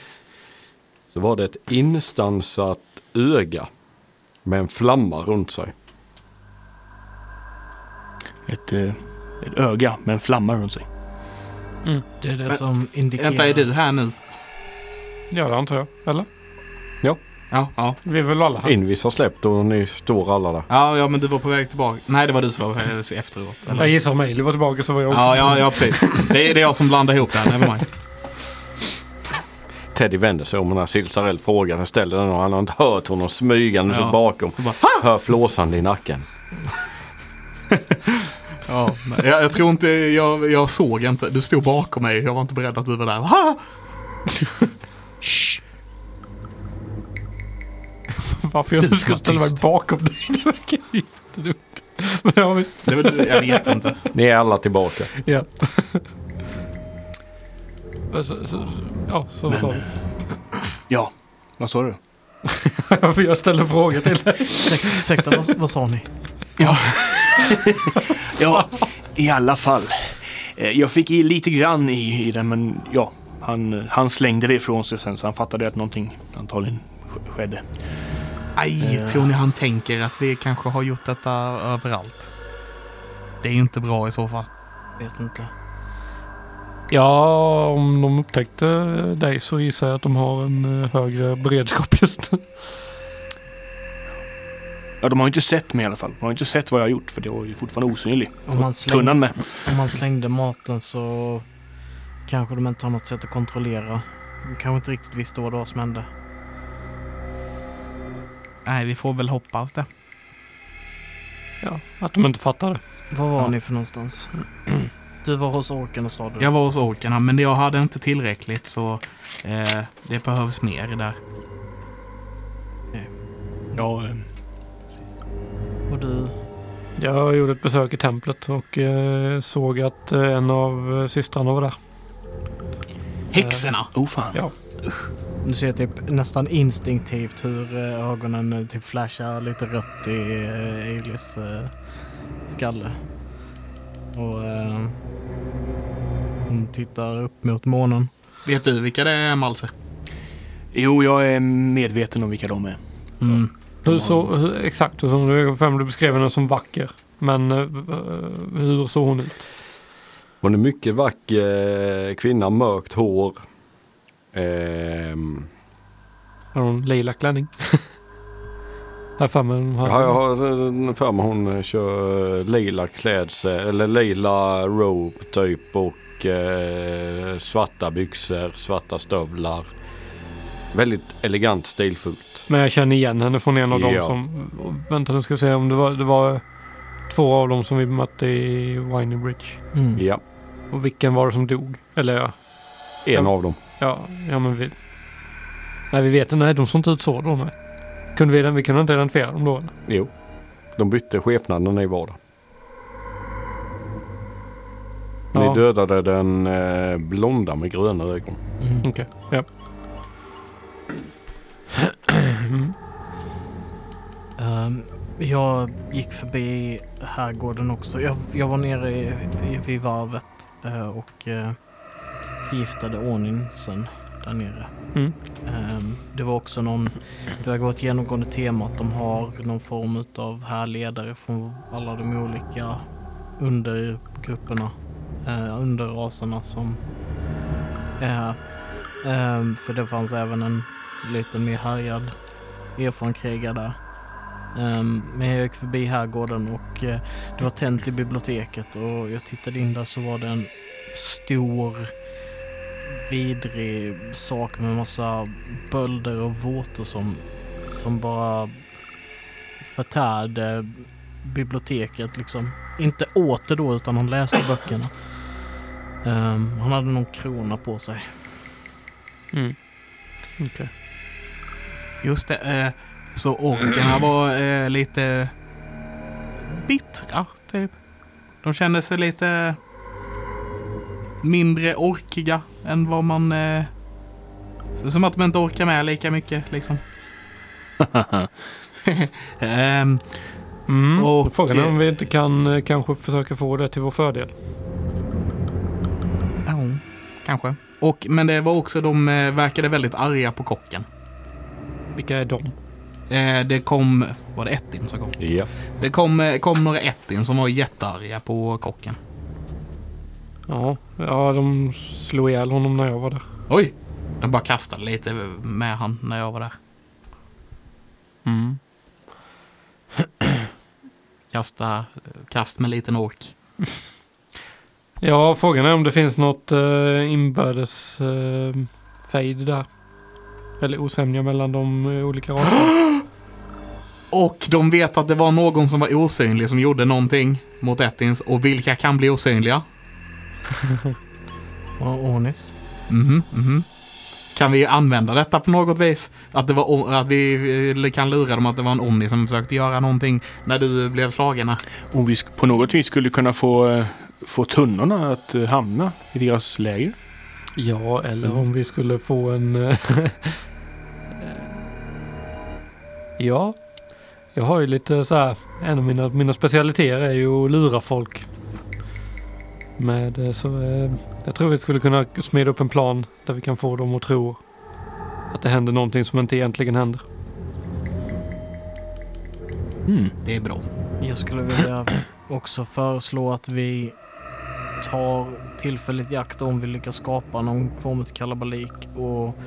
F: Så var det ett instansat öga med en flamma runt sig.
D: Ett, eh, ett öga med en flamma runt sig.
C: Det är det som indikerar.
A: Vänta, är du här nu?
E: Ja, det antar jag. Eller?
A: Ja, ja.
E: Vi är väl alla här?
F: Invis har släppt och ni står alla där.
A: Ja, ja, men du var på väg tillbaka. Nej, det var du som var på väg efteråt. Eller?
E: Jag gissar om Ailey var tillbaka så var jag också.
A: Ja, ja, ja, precis. Det är, det är jag som blandar ihop det här. Nevermind.
F: Teddy vänder sig om och när Silsarell frågar och ställer den och han har inte hört honom smygande
A: Ja.
F: ja. bakom.
A: Så bara,
F: Hör flåsande i nacken.
A: Ja, nej, jag, jag tror inte, jag, jag såg inte. Du stod bakom mig. Jag var inte beredd att du var där. Ha!
E: Varför jag
A: Du
E: nu
A: ska
E: ska
A: vara
E: ställa mig
A: tyst.
E: bakom dig, det verkar jättedumt. Men ja, visst.
A: Det, var- jag vet inte.
F: Ni är alla tillbaka.
E: Ja. Så, så, ja, så sa du.
D: Ja, vad sa du?
E: För jag ställer frågor till dig.
B: Ursäk- Ursäkta, vad, vad sa ni?
D: Ja, i alla fall. Eh, Jag fick i lite grann i, i den, men ja. Han, han slängde det ifrån sig sen, så han fattade att någonting antagligen sk- skedde.
A: Aj, tror ni han tänker att vi kanske har gjort detta överallt? Det är ju inte bra i så fall.
C: Vet inte.
E: Ja, om de upptäckte dig så gissar jag att de har en eh, högre beredskap just nu.
D: Ja, de har ju inte sett mig i alla fall. De har ju inte sett vad jag har gjort, för det var ju fortfarande osynlig.
C: Om man slängde,
D: Tunnan med.
C: om man slängde maten så kanske de inte har något sätt att kontrollera. De kanske inte riktigt visste vad det var som hände.
B: Nej, vi får väl hoppas det.
E: Ja, att de inte fattade.
C: Var var
A: Ja.
C: ni för någonstans? Du var hos orken och sa du?
A: Jag var hos orkarna, men jag hade inte tillräckligt så eh, det behövs mer där.
D: Ja, eh,
C: Och du?
E: Jag gjorde ett besök i templet och eh, såg att eh, en av eh, systrarna var där.
A: Häxorna!
D: oh fan.
E: Ja.
C: Du ser typ nästan instinktivt hur eh, ögonen eh, typ flashar lite rött i eh, Elis eh, skalle. Och eh, hon tittar upp mot månen.
A: Vet du vilka det är, Malse?
D: Jo, jag är medveten om vilka de är.
A: Mm.
E: Hur så, hur, exakt hur som du, fem, du beskrev henne som vacker. Men eh, eh, hur såg hon ut?
F: Hon är mycket vacker eh, kvinna, mörkt hår. Ehm,
E: Har hon lila klänning? Här framme. hon har-
F: Ja, jag har eh, för mig hon eh, kör eh, lila klädsel, eller lila robe typ och eh, svarta byxor, svarta stövlar. Väldigt elegant stilfullt.
E: Men jag känner igen henne från en av dem
F: Ja.
E: som... och Vänta nu ska vi se om det var, det var två av dem som vi mötte i Winey Bridge.
F: Ja,
E: Och vilken var det som dog? Eller ja,
F: en
E: Ja.
F: av dem.
E: ja, ja men vi... Nej vi vet Nej de såg inte ut så då nej. Kunde vi, vi kunde inte identifiera dem då eller?
F: Jo, de bytte skepnad när ni var där.
E: Ja.
F: Ni dödade den eh, blonda med gröna ögon.
E: Okej, ja.
C: Ehm, jag gick förbi herrgården också. Jag, jag var nere i, i, vid varvet eh, och eh, förgiftade ordningsen där nere.
E: Mm.
C: Ehm, det var också någon, det verkar vara ett genomgående tema att de har någon form av härledare från alla de olika undergrupperna, eh, underraserna som är här. Ehm, för det fanns även en lite mer härjad erfaren krigare där. Ehm, men jag gick förbi herrgården och eh, det var tänt i biblioteket och jag tittade in där så var det en stor vidrig sak med massa bölder och våtor som, som bara förtärde biblioteket liksom. Inte åt det då utan han läste böckerna. Ehm, han hade någon krona på sig.
E: Okej.
A: Just det, eh, så orkarna var eh, lite bittra, typ. De kände sig lite mindre orkiga än vad man... Eh, så- som att de inte orkar med lika mycket, liksom. Ehm,
E: Mm.
A: Och-
E: Frågan är om vi inte kan eh, kanske försöka få det till vår fördel.
A: Ja, kanske. Och, men det var också, de eh, verkade väldigt arga på kocken.
E: Vilka är de?
A: Eh, det kom, var det Ettin som kom?
F: Ja.
A: Det kom, eh, kom några Ettin som var jättearga på kocken.
E: Ja, ja de slog ihjäl honom när jag var där.
A: Oj! De bara kastade lite med han när jag var där.
E: Mm.
A: Kasta, kast med liten ork.
E: Ja, frågan är om det finns något eh, inbördes eh, fejd där. Eller osämja mellan de eh, olika raserna.
A: Och de vet att det var någon som var osynlig som gjorde någonting mot Ettins. Och vilka kan bli osynliga?
C: Och Ornis.
A: Mhm, mhm. kan vi använda detta på något vis? Att, det var, o- att vi eh, kan lura dem att det var en Omni som försökte göra någonting när du blev slagen?
D: Om vi sk- på något vis skulle kunna få, eh, få tunnorna att eh, hamna i deras läger.
E: Ja, eller om vi skulle få en... eh, ja, jag har ju lite så här. En av mina, mina specialiteter är ju att lura folk. Med, eh, så, eh, jag tror vi skulle kunna smida upp en plan där vi kan få dem att tro att det händer någonting som inte egentligen händer.
A: Det är bra.
C: Jag skulle vilja också föreslå att vi tar tillfället i akt om vi lyckas skapa någon form av kalabalik och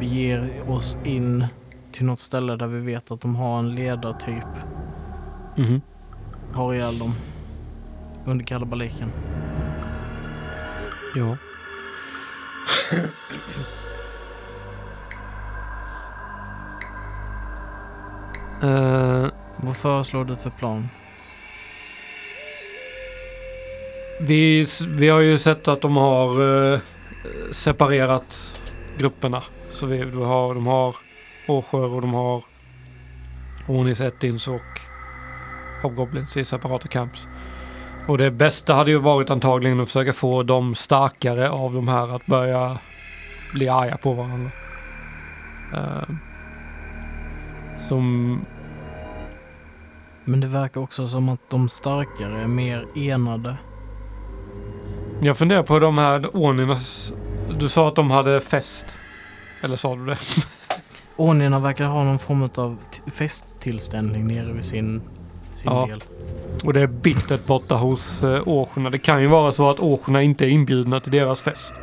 C: beger oss in till något ställe där vi vet att de har en ledartyp.
E: Mhm.
C: Har ihjäl dem under kalabaliken.
E: Ja. Eh,
C: Vad föreslår du för plan?
E: Vi, vi har ju sett att de har eh, separerat grupperna. Så vi, du har, de har Åsjö och de har Onis, Ettins och Hobgoblins i separata camps. Och det bästa hade ju varit antagligen att försöka få de starkare av de här att börja bli arga på varandra. Eh, som
C: Men det verkar också som att de starkare är mer enade.
E: Jag funderar på de här ordningarna. Du sa att de hade fest. Eller sa du det?
C: Ordningarna verkar ha någon form av t- festtillställning nere vid sin, sin
E: Ja.
C: del.
E: Och det är bittert borta hos eh, Åsjorna. Det kan ju vara så att Åsjorna inte är inbjudna till deras fest.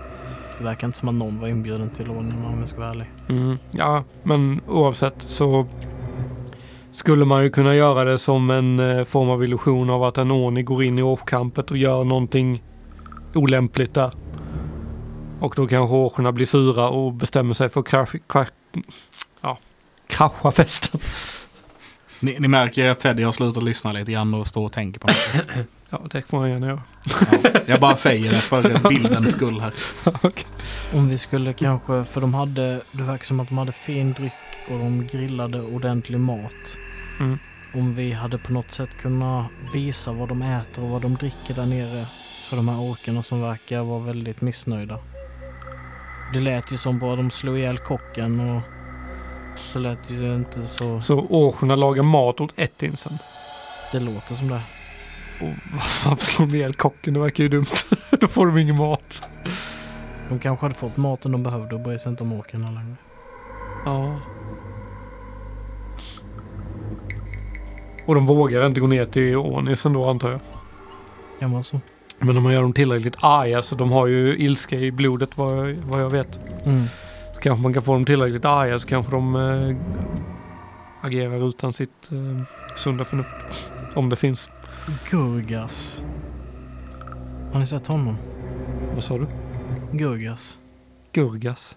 C: Det verkar inte som att någon var inbjuden till ordningarna om jag ska vara ärlig.
E: Mm. Ja, men oavsett så skulle man ju kunna göra det som en eh, form av illusion av att en ordning går in i åskampet och gör någonting olämpligt där. Och då kanske åsjorna blir sura och bestämmer sig för att krasch, krasch, ja, krascha festen.
A: Ni, ni märker att Teddy har slutat lyssna lite grann och står och tänker på något.
E: Ja, det får man gärna göra.
A: Ja, jag bara säger det för bildens skull här.
C: Om vi skulle kanske, för de hade, det verkar som att de hade fin dryck och de grillade ordentlig mat.
E: Mm.
C: Om vi hade på något sätt kunnat visa vad de äter och vad de dricker där nere för de här orkerna som verkar vara väldigt missnöjda. Det lät ju som bara de slog ihjäl kocken och så lät ju inte så.
E: Så åsjorna lagar mat åt ettinsen.
C: Det låter som det.
E: Och vad fan slår de ihjäl kocken? Det verkar ju dumt. Då får de ingen mat.
C: De kanske hade fått maten de behövde och bryr sig inte om orkerna längre.
E: Ja. Och de vågar inte gå ner till Ånisen då antar jag.
C: Kan vara så.
E: Men om man gör dem tillräckligt arga så de har ju ilska i blodet vad jag, vad jag vet.
C: Mm.
E: Så kanske man kan få dem tillräckligt arga så kanske de eh, agerar utan sitt eh, sunda förnuft. Om det finns.
C: Gurgas. Har ni sett honom?
E: Vad sa du?
C: Gurgas.
E: Gurgas.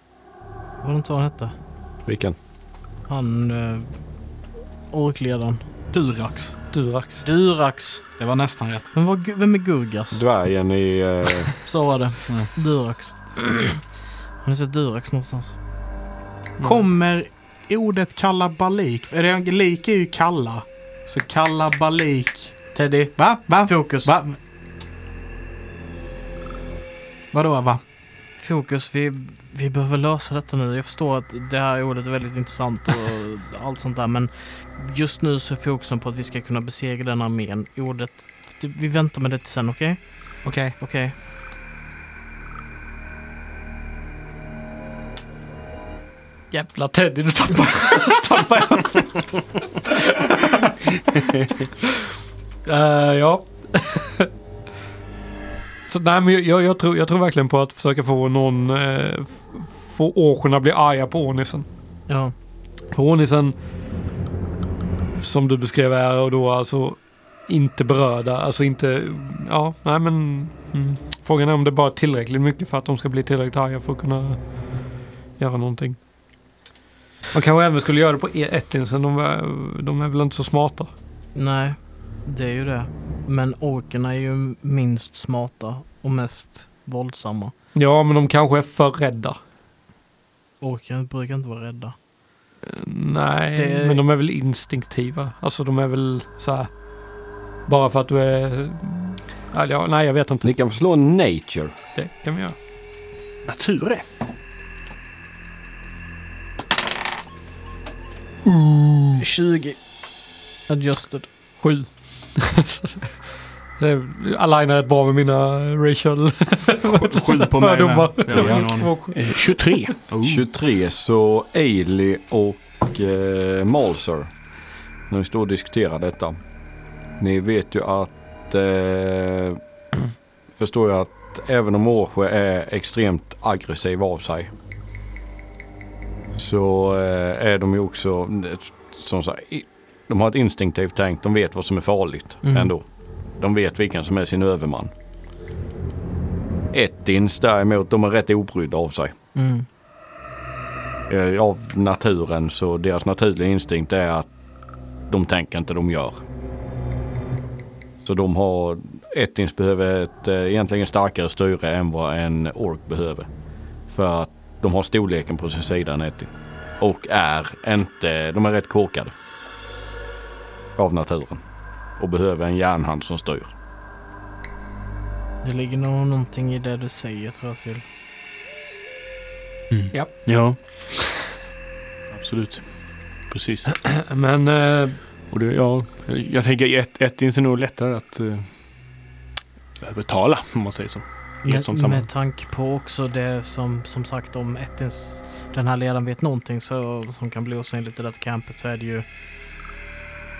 C: Var det inte så han hette?
F: Vilken?
C: Han... Eh, orkledaren.
A: Durax.
E: Durax.
C: Durax.
A: Det var nästan rätt.
C: Vem, var, vem är Gurgas?
F: Dvärgen i... Eh,
C: Så var det.
A: Mm.
C: Durax. Har ni sett Durax någonstans?
E: Mm.
A: Kommer ordet kalabalik? Är det, lik är ju kalla. Så kalabalik.
C: Teddy.
A: Va? Va?
C: Fokus.
A: Va? Vadå va?
C: Fokus. Vi, vi behöver lösa detta nu. Jag förstår att det här ordet är väldigt intressant och allt sånt där. Men just nu så är fokusen på att vi ska kunna besegra den armén. Ordet... det- Vi väntar med det till sen, okej?
A: Okej.
C: Okej.
E: Jävla Teddy, du tappar, tappar jag uh, Ja. Så nej, men jag- jag, jag, tror, jag tror verkligen på att försöka få någon... eh, f- få åsjorna bli arga på ånissen.
C: Ja.
E: För ånissen, som du beskrev är och då alltså inte berörda, alltså inte... Ja, nej men... Mm. Frågan är om det bara är tillräckligt mycket för att de ska bli tillräckligt arga för att kunna göra någonting. Man kanske även skulle göra det på e- ettinsen, de, är- de är väl inte så smarta.
C: Nej, det är ju det. Men orkerna är ju minst smarta och mest våldsamma.
E: Ja, men de kanske är för rädda.
B: Orkar brukar inte vara rädda.
E: Nej,
C: Det-
E: men de är väl instinktiva. Alltså de är väl så här. Bara för att du är... Eller, ja, nej, jag vet inte.
F: Ni kan få slå nature.
E: Det kan vi göra.
D: Natur är.
C: Mm. 20. Adjusted.
E: Sju. det är- alignar rätt bra med mina racial
A: Sju på mig med.
E: fördomar.
A: Jag har ingen aning.
D: Eh, 23.
A: Oh.
F: 23 så Ailey och eh, Malser. När vi står och diskuterar detta. Ni vet ju att... Eh, förstår jag att även om Åsjö är extremt aggressiv av sig. Så eh, är de ju också... Som så här, i- de har ett instinktivt tänk. De vet vad som är farligt
C: Mm.
F: ändå. De vet vilken som är sin överman. Ettins däremot, de är rätt obrydda av sig
C: Mm.
F: eh, av naturen så deras naturliga instinkt är att de tänker inte, de gör. Så de har, ettins behöver ett eh, egentligen starkare styre än vad en ork behöver. För att de har storleken på sin sida än ettin. Och är inte, de är rätt korkade. Av naturen. Och behöver en järnhand som styr.
C: Det ligger nog någonting i det du säger, Trasil.
D: Ja. Absolut. Precis.
E: Men eh,
D: Och det, ja, jag tänker ett, ett är nog lättare att eh, betala om man säger så. I ett sånt
C: Med,
D: sammanhang.
C: med tanke på också det som, som sagt om ettens, den här ledaren vet någonting så, som kan bli osynligt i det här campet så är det ju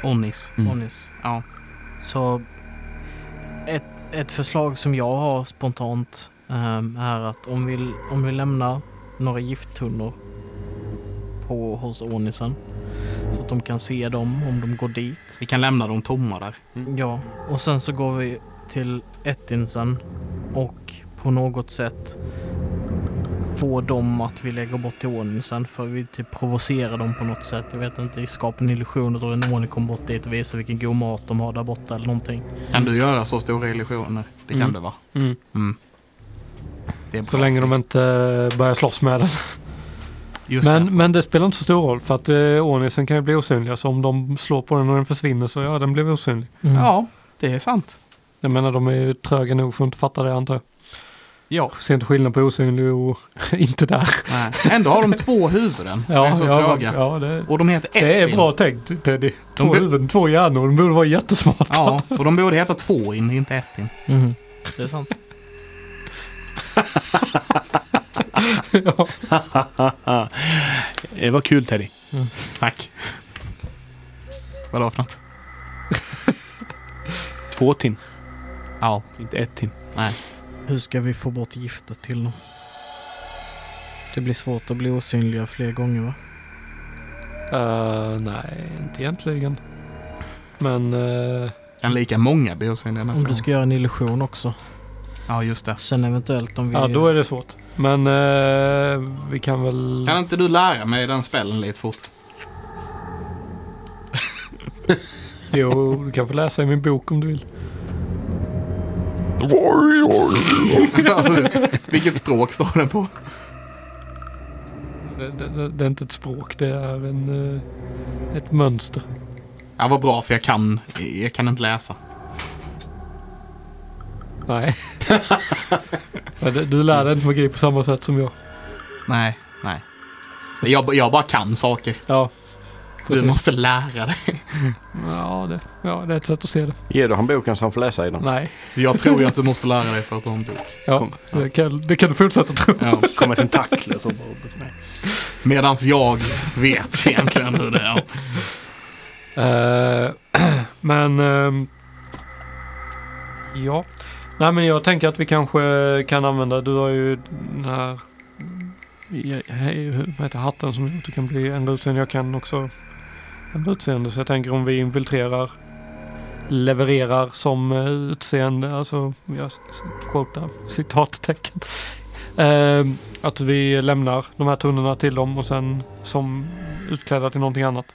B: Onnis.
F: Mm.
C: Onis.
B: Ja.
C: Så ett, ett förslag som jag har spontant ehm, är att om vi, om vi lämnar några gifttunnor på, hos Onisen så att de kan se dem om de går dit.
B: Vi kan lämna dem tomma där.
C: Ja, och sen så går vi till Ettinsen och på något sätt får dem att vilja gå bort till Ånisen för vi typ provocerar dem på något sätt. Jag vet inte, skapar en illusion och då en åning kommer bort dit och visar vilken god mat de har där borta eller någonting.
B: Kan du göra så stora illusioner? Det kan
E: Mm.
B: du va?
E: mm,
B: Det är bra
E: så länge de
B: Sid.
E: inte börjar slåss med den.
B: Just det.
E: Men, men det spelar inte så stor roll för att eh, Onisen kan ju bli osynlig. Så om de slår på den och den försvinner så ja, den blev osynlig.
A: Mm.
B: Ja, det är sant.
E: Jag menar de är ju tröga nog för att inte fatta det antar jag.
B: Ja,
E: Ser inte skillnad på osynlig och inte där.
B: nej. Ändå har de två huvuden. de är så
E: ja,
B: tröga.
E: ja det,
B: Och de heter
E: det är
B: Ettin.
E: bra tänkt Teddy. Två
B: blir-
E: huvuden, två hjärnor. De borde vara jättesmarta.
B: Ja, och de borde heta Tvåin, inte Ettin.
C: Mm. Det är sant.
E: Ja.
D: Det var kul Teddy.
B: Tack. Vadå för något?
D: Två tim,
B: Ja,
D: inte ett tim.
C: Hur ska vi få bort giftet till dem? Det blir svårt att bli osynliga fler gånger va?
E: Eh, nej, inte egentligen. Men eh,
B: kan lika många bli osynliga
C: Om
B: nästa
C: du
B: gång.
C: ska göra en illusion också.
B: Ja, just det.
C: Sen eventuellt om vi...
E: ja, då är det svårt. Men eh, vi kan väl...
B: Kan inte du lära mig den spelen lite fort?
E: Jo, du kan få läsa i min bok om du vill.
B: Vilket språk står den på?
E: Det, det- det, det är inte ett språk, det är en, eh, ett mönster.
B: Ja, vad bra för jag kan, jag kan inte läsa.
E: Nej. Men det- du lär dig inte magi på samma sätt som jag.
B: Nej, nej. Jag, jag bara kan saker.
E: Ja.
B: Du
E: Precis.
B: måste lära dig.
E: Ja, det, ja, det är ett sätt att se det.
F: Ger du han boken så han får läsa i den?
E: Nej,
B: Jag tror ju att du måste lära dig för att du har en bok.
E: ja, det, kan, det kan du fortsätta tro.
B: Ja.
D: Kommer tentakler som bara... Nej.
B: Medan jag vet egentligen hur det är.
E: Eh, men... ehm, ja. Nej, men jag tänker att vi kanske kan använda... Du har ju den här... ja, hej, hur- Vad heter hatten som gör att du kan bli en utseende? Jag kan också en utseende. Så jag tänker om vi infiltrerar, levererar som eh, utseende, alltså jag quotar citattecken. Ehm, att vi lämnar de här tunnorna till dem och sen som utklädda till någonting annat.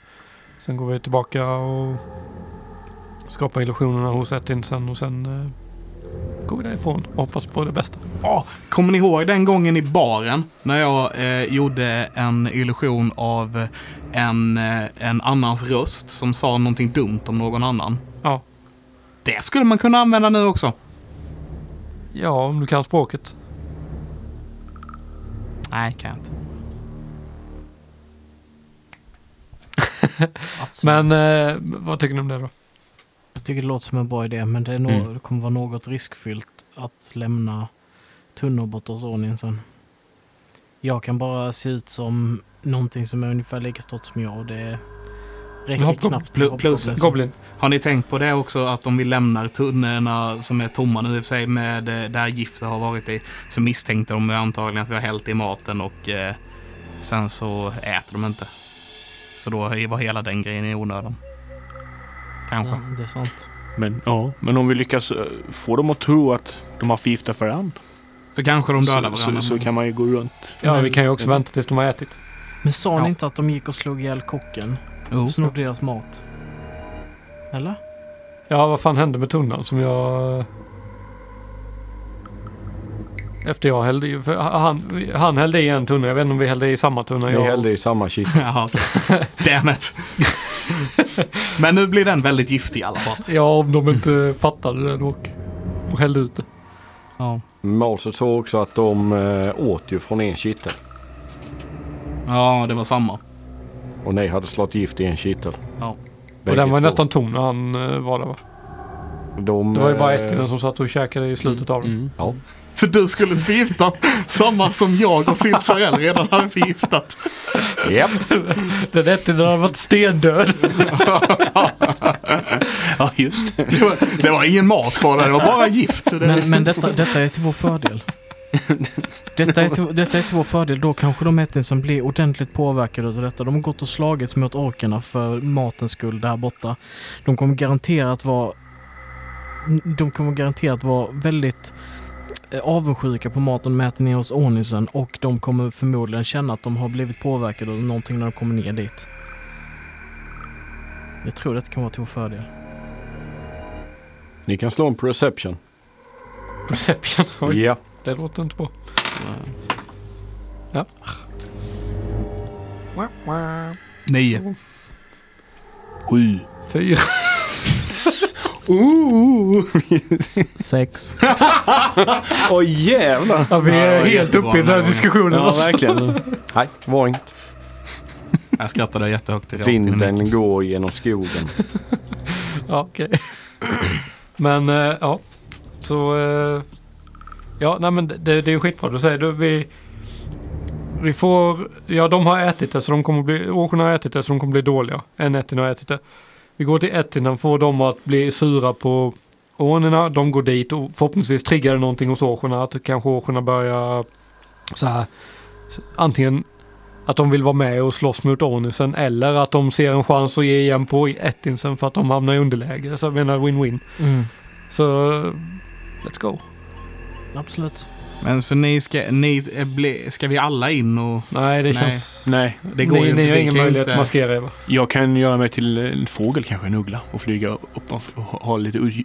E: Sen går vi tillbaka och skapar illusionerna hos Ettin sen och sen eh, går vi därifrån och hoppas på det bästa.
A: Ja, kommer ni ihåg den gången i baren när jag eh, gjorde en illusion av en, eh, en annans röst som sa någonting dumt om någon annan?
E: Ja.
A: Det skulle man kunna använda nu också.
E: Ja, om du kan språket.
A: Nej, kan jag inte.
E: Men eh, vad tycker ni om det då?
C: Jag tycker det låter som en bra idé, men det, är nog,
A: Mm.
C: det kommer vara något riskfyllt att lämna tunnor borta hos Onin sen. Jag kan bara se ut som någonting som är ungefär lika stort som jag och det räcker
E: Hopp-
C: knappt.
A: plu- plus-
C: Hopp-
E: Goblin.
A: Har ni tänkt på det också att om vi lämnar tunnorna som är tomma nu i och för sig med eh, där giftet har varit i så misstänkte de ju antagligen att vi har hällt i maten och eh, sen så äter de inte. Så då var hela den grejen i onödan. Kanske.
C: Ja, det är sant.
D: Men, ja, men om vi lyckas eh, få dem att tro att de har förgiftat varandra
A: Så kanske de dödar
D: så,
A: varandra.
D: så, så kan man ju gå runt.
E: Ja, vi kan ju också vänta tills de har ätit.
C: Men sa
A: Ja.
C: ni inte att de gick och slog ihjäl kocken?
A: Jo.
C: Snodde deras mat? Eller?
E: Ja, vad fan hände med tunnan som jag... eh, Efter jag hällde i... För han, han hällde i en tunna. Jag vet inte om vi hällde i samma tunna.
F: Vi
E: jag,
F: hällde i samma kista.
A: Jaha, okej. Damn it. Men nu blir den väldigt giftig i alla fall.
E: Ja, om de inte fattade det då. Och, och hällde ut det.
F: Malset såg också att de eh, åt ju från en kittel.
A: Ja, det var samma.
F: Och ni hade slagit gift i en kittel.
A: Ja.
F: Bägge
E: och den var
F: två.
E: nästan tom när han eh, var där va?
F: De,
E: Det var ju bara
F: eh,
E: ättiken som satt och käkade i slutet av den.
A: Mm.
F: Ja.
A: Så du skulle förgifta samma som jag och Silsarell redan hade förgiftat.
F: Japp.
E: Den ättiken hade varit stendöd.
D: Ja, just det.
A: Det var, det var ingen mat kvar där, det var bara gift. Det,
B: Men, men detta, detta är till vår fördel. Detta är, till, detta är till vår fördel. Då kanske de etniska blir ordentligt påverkade av detta. De har gått och slagits mot orkerna för matens skull där borta. De kommer garanterat vara... De kommer garanterat vara väldigt eh, avundsjuka på maten de äter nere hos Onisen och de kommer förmodligen känna att de har blivit påverkade av någonting när de kommer ner dit. Jag tror detta kan vara till vår fördel.
F: Ni kan slå en perception.
E: Perception. Oj,
F: Ja.
E: det låter inte bra.
A: Nio.
D: Sju.
E: Fyra.
B: Sex.
D: Åh jävlar!
E: Ja, vi
A: Ja, det
E: är
A: var
E: helt
A: jättebra
E: uppe i den
A: den här
E: här
A: gången.
E: diskussionen.
D: Ja,
E: alltså.
D: verkligen.
F: Nej, var inte.
A: Jag skrattade jättehögt. rakt in i micken.
F: Vinden går genom skogen.
E: Ja, okej. men eh, ja, så... eh, ja, nej men det, det är ju skitbra. Du säger du, vi... Vi får... Ja, de har ätit det så de kommer bli... Åkerna har ätit det så de kommer bli dåliga. En ätin har ätit det. Vi går till ätin, får dem att bli sura på ånerna. De går dit och förhoppningsvis triggar det någonting hos åkerna. Att kanske åkerna börjar så här... Antingen att de vill vara med och slåss mot Ornisen eller att de ser en chans att ge igen på Ettinsen för att de hamnar i underläge. Så jag menar win-win.
B: Mm.
E: Så let's go.
B: Absolut.
A: Men så ni ska, ni eh, bli, ska vi alla in och...
E: Nej, det
A: Nej.
E: känns...
D: Nej,
A: Det går
E: ni,
A: ju inte.
E: Ni har
A: vi
E: ingen
A: kan ju
E: möjlighet
A: inte-
E: att maskera er va?
D: jag kan göra mig till eh, en fågel kanske, en uggla och flyga upp och och ha lite ut-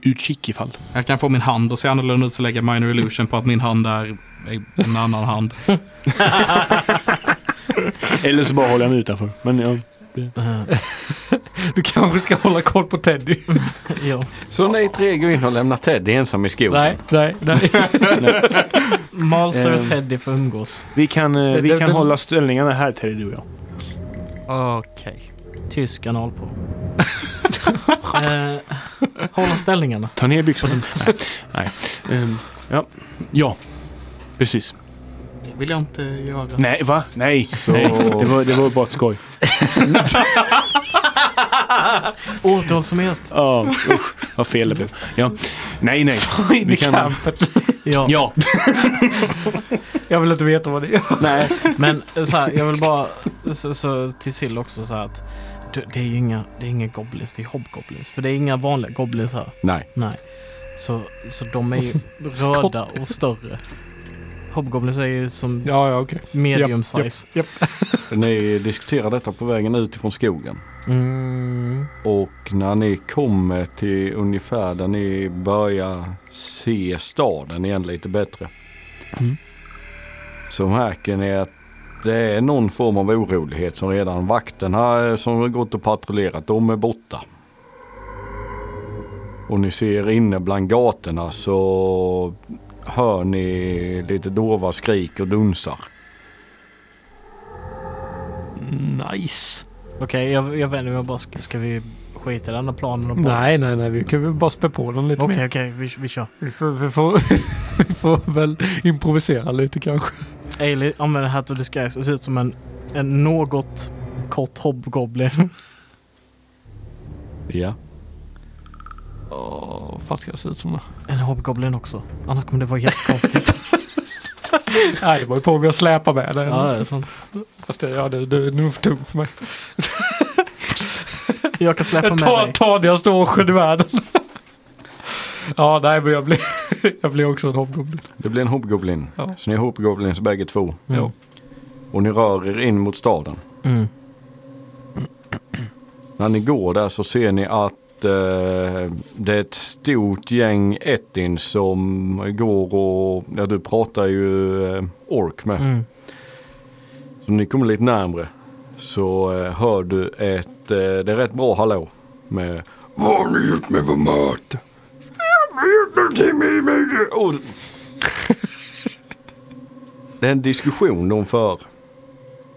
D: utkik ifall.
A: Jag kan få min hand att se annorlunda ut så lägga minor illusion på att min hand är en annan hand.
D: Eller så bara håller jag mig utanför. Men ja.
B: Eh,
E: Du kanske ska hålla koll på Teddy?
B: ja.
F: Så ni tre går in och lämnar Teddy ensam i skogen.
E: nej, nej, nej.
B: Malser och
E: Eh.
D: Ehm.
B: Teddy får umgås.
D: Vi kan, eh,
E: Det-
D: vi
E: det-
D: kan
E: det-
D: hålla ställningarna här Teddy, du och jag.
B: Okej. Tysk anal på. eh, hålla ställningarna.
D: Ta ner byxorna. Nej. Nej. Ehm, ja. ja, precis.
A: vill jag inte göra.
D: Nej, va? Nej.
F: Så-
D: Nej. Det, var, det var bara ett skoj.
B: Återhållsamhet.
D: Ja, usch. Vad fel det blev. Ja. Nej, nej.
E: In i
D: Vi kan-
E: campet.
B: Ja,
D: Ja.
E: Jag vill inte veta vad det är.
D: Nej.
B: men eh, så här, jag vill bara så, så, till Sill också så här att det, det är ju inga, det är inga goblins, det är hobgoblins. För det är inga vanliga goblins här.
F: Nej.
B: Nej. Så, så de är ju röda och större.
C: Hobgoblins är ju som
E: Ja, ja, okej.
C: medium
E: japp,
C: size.
E: Japp.
F: Ni diskuterar detta på vägen ut ifrån skogen.
C: Mm.
F: Och när ni kommer till ungefär där ni börjar se staden igen lite bättre.
B: Mm.
F: Så märker ni att det är någon form av orolighet som redan vakterna eh, som har gått och patrullerat, de är borta. Och ni ser inne bland gatorna så hör ni lite dova skrik och dunsar.
E: Nice.
C: Okej, jag, jag vänder mig och bara, ska, ska vi skita i den här planen och bara...
E: Nej, nej, nej. Vi kan väl bara spä på den lite
C: Okej,
E: mer.
C: okej, vi, vi kör.
E: Vi får, vi, får, vi får väl improvisera lite kanske.
C: Ailey använder Hat of Disguise och ser ut som en, en något kort Hobgoblin.
F: Ja.
E: Åh, vad fan ska jag se ut som då?
C: En Hobgoblin också. Annars kommer det vara jättekonstigt.
E: Nej, det var ju på mig att släpa med den.
C: ja, det är sant.
E: Fast det, ja, det, det är nog för tungt för mig.
C: Jag kan släppa
E: Den
C: med
E: ta,
C: dig.
E: tanigaste årsjön i världen. ja, nej, men jag blir, jag blir också en hobgoblin.
F: Det blir en hobgoblin.
E: Ja.
F: Så ni är hobgoblins bägge två.
C: Mm.
E: Ja.
F: Och ni rör er in mot staden.
C: Mm.
F: När ni går där så ser ni att eh, det är ett stort gäng ettin som går och, ja du pratar ju eh, ork med.
C: Mm.
F: Så ni kommer lite närmre så eh, hör du ett, eh, det är rätt bra hallå med Vad har ni gjort med vår mat? Jag har gjort någonting med mig. Och- Det är en diskussion de för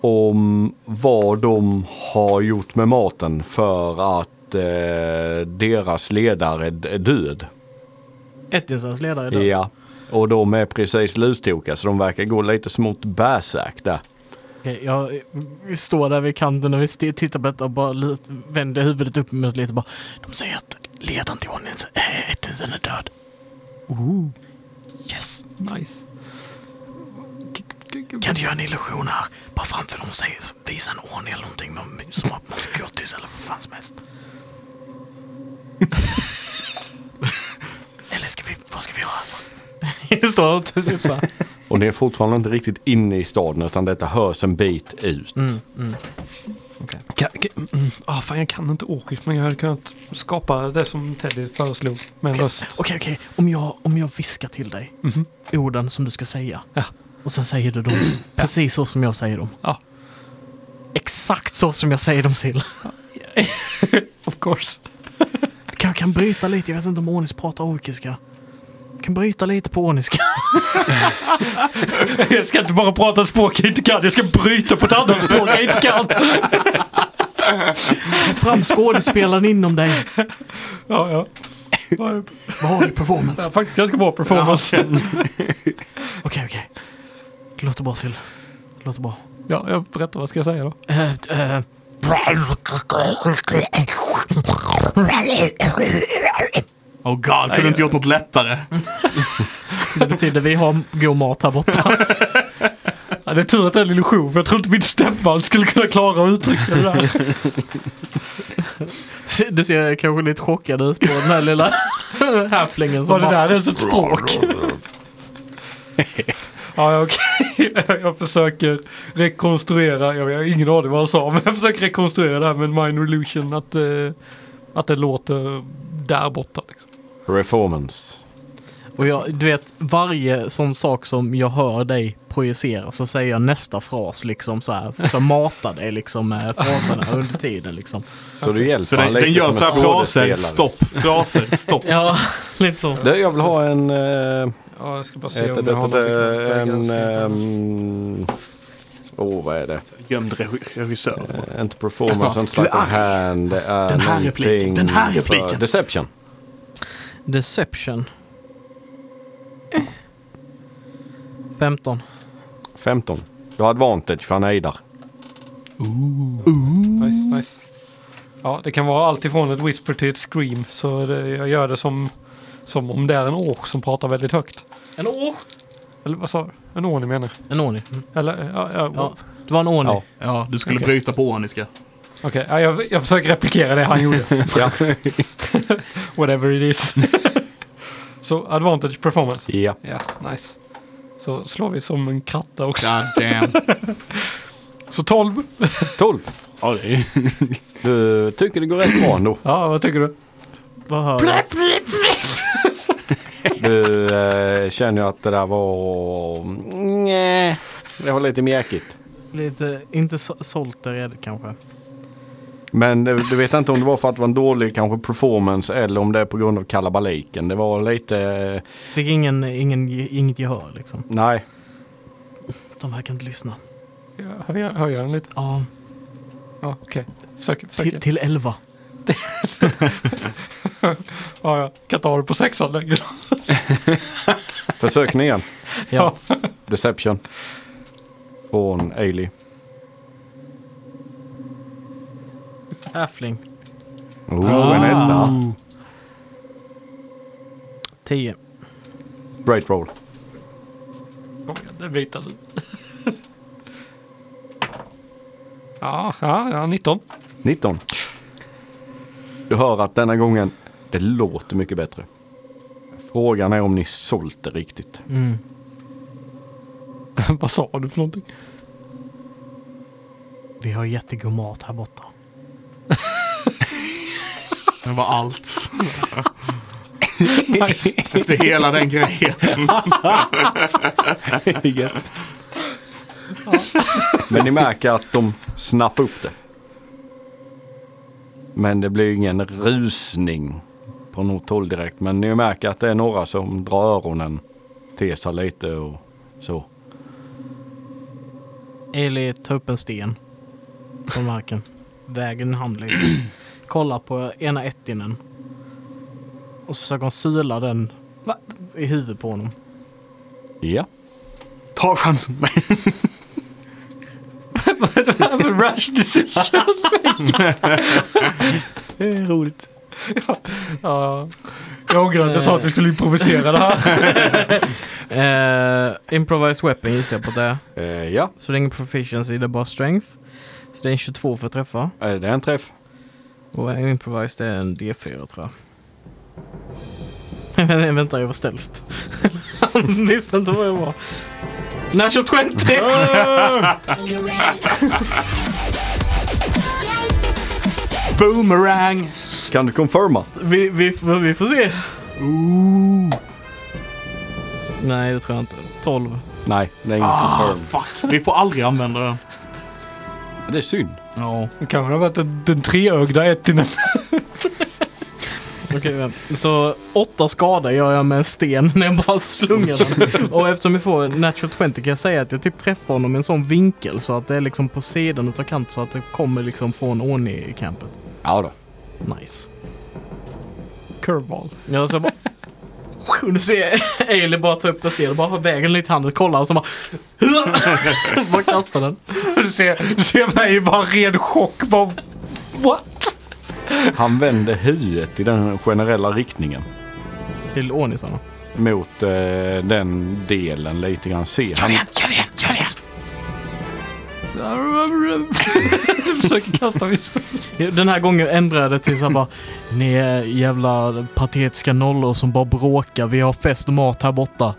F: om vad de har gjort med maten för att eh, deras ledare är död.
C: Ettinsens ledare idag.
F: Ja, och de är precis lustokiga så de verkar gå lite smått bärsäk där.
C: Okej, jag eh, vi står där vid kanten och vi st- tittar på detta och bara lite, vänder huvudet upp mot lite och bara. De säger att ledaren till ordningens äh, Ettinsen är död. Yes.
E: Nice.
C: Kan du göra en illusion här? Bara framför dem säger, visa en ordning eller någonting man- som att man ska gå till eller vad fan som helst. eller ska vi, vad ska vi göra? Det står och typ så här.
F: Och ni är fortfarande inte riktigt inne i staden utan detta hörs en bit ut.
A: Mm.
E: Kan, kan, mm, ah, fan, jag kan inte orkish men jag hade kunnat skapa det som Teddy föreslog med en
C: Okej,
E: röst.
C: okej, okej. Om jag, om jag viskar till dig
E: Mhm.
C: orden som du ska säga
E: Ja.
C: och sen säger du dem precis så som jag säger dem.
E: Ja.
C: Exakt så som jag säger dem till.
E: Of course.
C: Du kanske kan bryta lite, jag vet inte om Onis pratar orkiska. Du kan bryta lite på orniska.
E: Jag ska inte bara prata ett språk jag inte kan, jag ska bryta på ett annat språk jag inte kan.
C: Fram skådespelaren inom dig.
E: Ja, ja. Ja, det
B: Vad har du på formen?
E: är faktiskt ganska bra performance.
C: Okej, okej. Det låter bra, Syl. Det låter bra.
E: Ja, jag berättar vad ska jag säga då.
C: Eh, eh,
A: Oh god, kunde du inte gjort något lättare?
F: Mm.
C: det betyder vi har god mat här borta.
E: Ja, det är tur att det är en illusion för jag tror inte min stämband skulle kunna klara att uttrycka det där.
C: Du ser kanske lite chockad ut på den här lilla häflingen
E: Var
C: som
E: det
C: bara...
E: där ens ett språk? Ja, ja, okej. Jag försöker rekonstruera, jag har ingen aning vad han sa, men jag försöker rekonstruera det här med minor illusion att, eh, att det låter där borta. Liksom.
F: Reformance.
C: Och jag, du vet, varje sån sak som jag hör dig projicera så säger jag nästa fras liksom så här. Så matar dig liksom med fraserna under tiden liksom.
F: Så du hjälper
A: Så den,
F: lite
A: den gör
F: som
A: så
F: en
A: här fraser,
F: skådespelare.
A: stopp, fraser, stopp.
C: Ja, lite så.
F: Du, jag vill ha en... eh,
E: Ja, jag ska bara se
F: ett,
E: om
F: ett,
E: jag har
F: ett, eh, en...
E: något.
F: ehm, Åh, vad är det?
D: Gömd regi- regissör.
F: Eh, Inte performance, inte slack of hand. Det är
B: Den här repliken,
F: någonting
B: den här
F: för-
B: repliken.
F: Deception.
C: Deception. 15.
F: 15. Du har advantage för han hejdar.
E: Nice, nice. Ja, det kan vara allt ifrån ett whisper till ett scream. Så det, jag gör det som, som om det är en ork som pratar väldigt högt.
C: En år.
E: Eller vad sa du? En orni menar jag.
C: En ordning.
E: Eller, ja, ja,
C: Ja, det var en ordning.
F: Ja.
A: Ja, du skulle bryta på orniska.
E: Okej, ja, jag, jag försöker replikera det han gjorde.
F: Ja.
E: Whatever it is. Så advantage performance.
F: ja.
E: Ja, nice. Så slår vi som en kratta också.
A: God damn.
E: Så 12.
F: 12.
D: Ja, det är
F: Du tycker det går rätt bra ändå.
E: Ja, vad tycker du?
C: Vad hör du?
F: Du eh, känner ju att det där var... Nej, det var lite mjäkigt.
C: Lite, inte so- Soltered kanske.
F: Men det, du vet inte om det var för att det var en dålig kanske performance eller om det är på grund av kalabaliken. Det var lite... eh,
C: Fick ingen, ingen, inget gehör liksom.
F: Nej.
C: De verkar inte lyssna.
E: Ja, höja, höja den lite.
C: Ja,
E: Ja, okej. Försök, försök.
C: till, till 11.
E: Ja, ja. Kan inte ha det på sexan längre.
F: Försök igen.
C: Ja.
F: Deception. Från Ailey.
C: Häfling.
F: Oh, en etta.
B: Ah.
C: 10.
F: Great roll.
E: Kom igen, den vita du. Ja, ja, ja, 19.
F: 19. Du hör att denna gången, det låter mycket bättre. Frågan är om ni sålt det riktigt.
C: Mm.
E: Vad sa du för någonting?
C: Vi har jättegod mat här borta.
A: Det var allt. Efter hela den grejen.
D: gött.
F: Men ni märker att de snappar upp det. Men det blir ingen rusning på något håll direkt. Men ni märker att det är några som drar öronen till sig lite och så.
C: Eli tar upp en sten från marken. Väger en handling. Kollar på ena ettinen. Och så försöker hon sula den i huvudet på honom.
F: Ja.
A: Ta chansen.
E: Alltså, Rash decision.
C: Det är roligt.
E: ja. Jag ångrar att jag sa att vi skulle improvisera det här.
C: Uh, improvised weapon gissar jag på det.
F: Eh, ja,
C: Så det är ingen proficiency, det är bara strength. Så det är en 22 för att träffa.
F: Eh, det är en träff.
C: Och en improvised är en D4 tror jag. Vä- Vänta, jag var stealth. Han visste inte vad jag var. National 20!
A: Boomerang.
F: Kan du confirma?
C: vi, vi, vi får se. Nej, det tror jag inte. 12.
F: Nej, det är ingen confirm.
A: Fuck, vi får aldrig använda den.
F: Det är synd.
C: Ja.
E: Det kan väl ha varit den, den treögda ettinen.
C: Okej, men- så åtta skador gör jag med en sten när jag bara slungar den. Och eftersom jag får natural 20 kan jag säga att jag typ träffar honom i en sån vinkel så att det är liksom på sidan utav kant så att det kommer liksom från Orni-campet.
F: Ja då.
C: Nice.
E: Curveball.
C: Ja, så jag bara... Och Du ser Ailey bara ta upp en sten och bara på vägen lite i handen, kollar och så bara... bara kastar den.
E: Du ser, du ser mig i bara ren chock. Bara, what?
F: Han vänder huvudet i den generella riktningen.
C: Till Ornisarna.
F: mot eh, den delen lite grann. Se han,
E: Du försöker kasta vispor.
C: Den här gången ändrade jag det till såhär bara Ni är jävla patetiska nollor som bara bråkar. Vi har fest och mat här borta.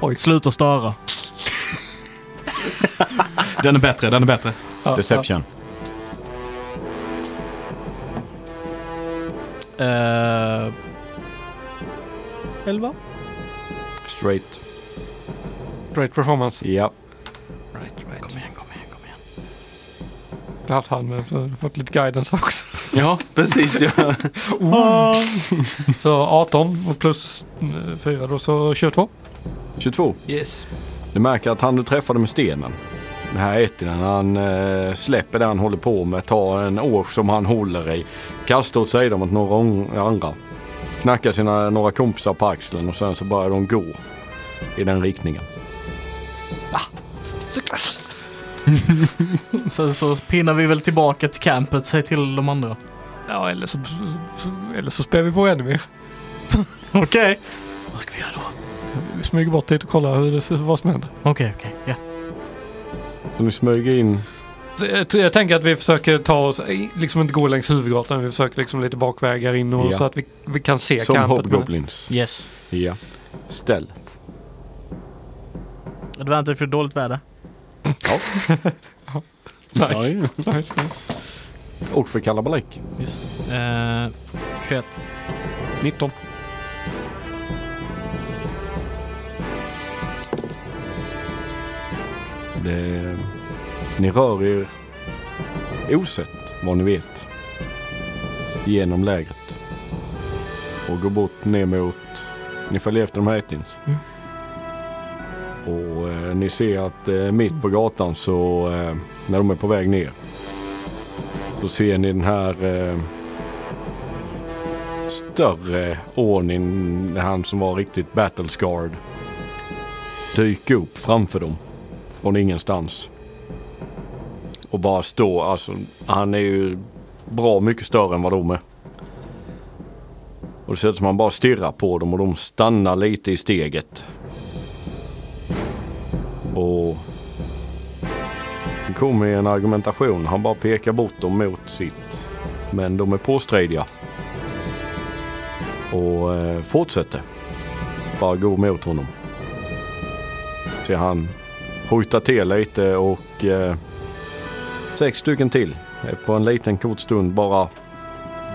E: Oj.
C: Sluta störa.
A: Den är bättre, den är bättre.
E: Ja,
F: Deception.
C: Uh, elva?
F: Straight.
E: ja. Great performance.
F: Ja.
C: Kom igen, kom igen, kom igen.
E: Vi har haft han med, så jag har fått lite guidance också.
D: Ja, precis. Ja.
E: Så 18 och plus 4 då så 22.
F: 22.
E: Yes.
F: Du märker att han du träffade med stenen. Den här ettinen, han eh, släpper det han håller på med, tar en års som han håller i, kastar åt sidan mot några ång- andra. Knackar sina några kompisar på axeln och sen så börjar de gå i den riktningen.
C: Sen så pinnar vi väl tillbaka till campet, säg till de andra.
E: Ja, eller så, så, eller så spär vi på ännu mer.
C: Okej. Vad ska vi göra då?
E: Vi smyger bort dit och kollar hur det, ser- vad som händer.
C: Okej, okej. Ja.
F: Så ni smyger in.
E: Så jag, tror- jag tänker att vi försöker ta oss, liksom inte gå längs huvudgatan, vi försöker liksom lite bakvägar in och
F: Ja.
E: så att vi, vi kan se
F: Som
E: campet. men-
F: hobgoblins.
C: Yes.
F: Ja. Ställ.
B: Advantage för dåligt väder.
E: Nice.
D: Oj.
E: nice, nice.
F: Och för kalabalik.
B: Just. Eh, 21.
E: 19.
F: Det, ni rör er osett, vad ni vet, genom lägret. Och går bort ner mot... Ni följer efter de här ettins.
C: Mm.
F: Och eh, ni ser att eh, mitt på gatan så, eh, när de är på väg ner, så ser ni den här eh, större ordningen, han som var riktigt battlescarred, dyka upp framför dem från ingenstans. Och bara stå, alltså han är ju bra mycket större än vad de är. Och det ser ut som han bara stirrar på dem och de stannar lite i steget. Och det kommer en argumentation. Han bara pekar bort dem mot sitt. Men de är påstridiga. Och eh, fortsätter. Bara går mot honom. Ser han hojtar till lite och eh, sex stycken till eh, på en liten kort stund bara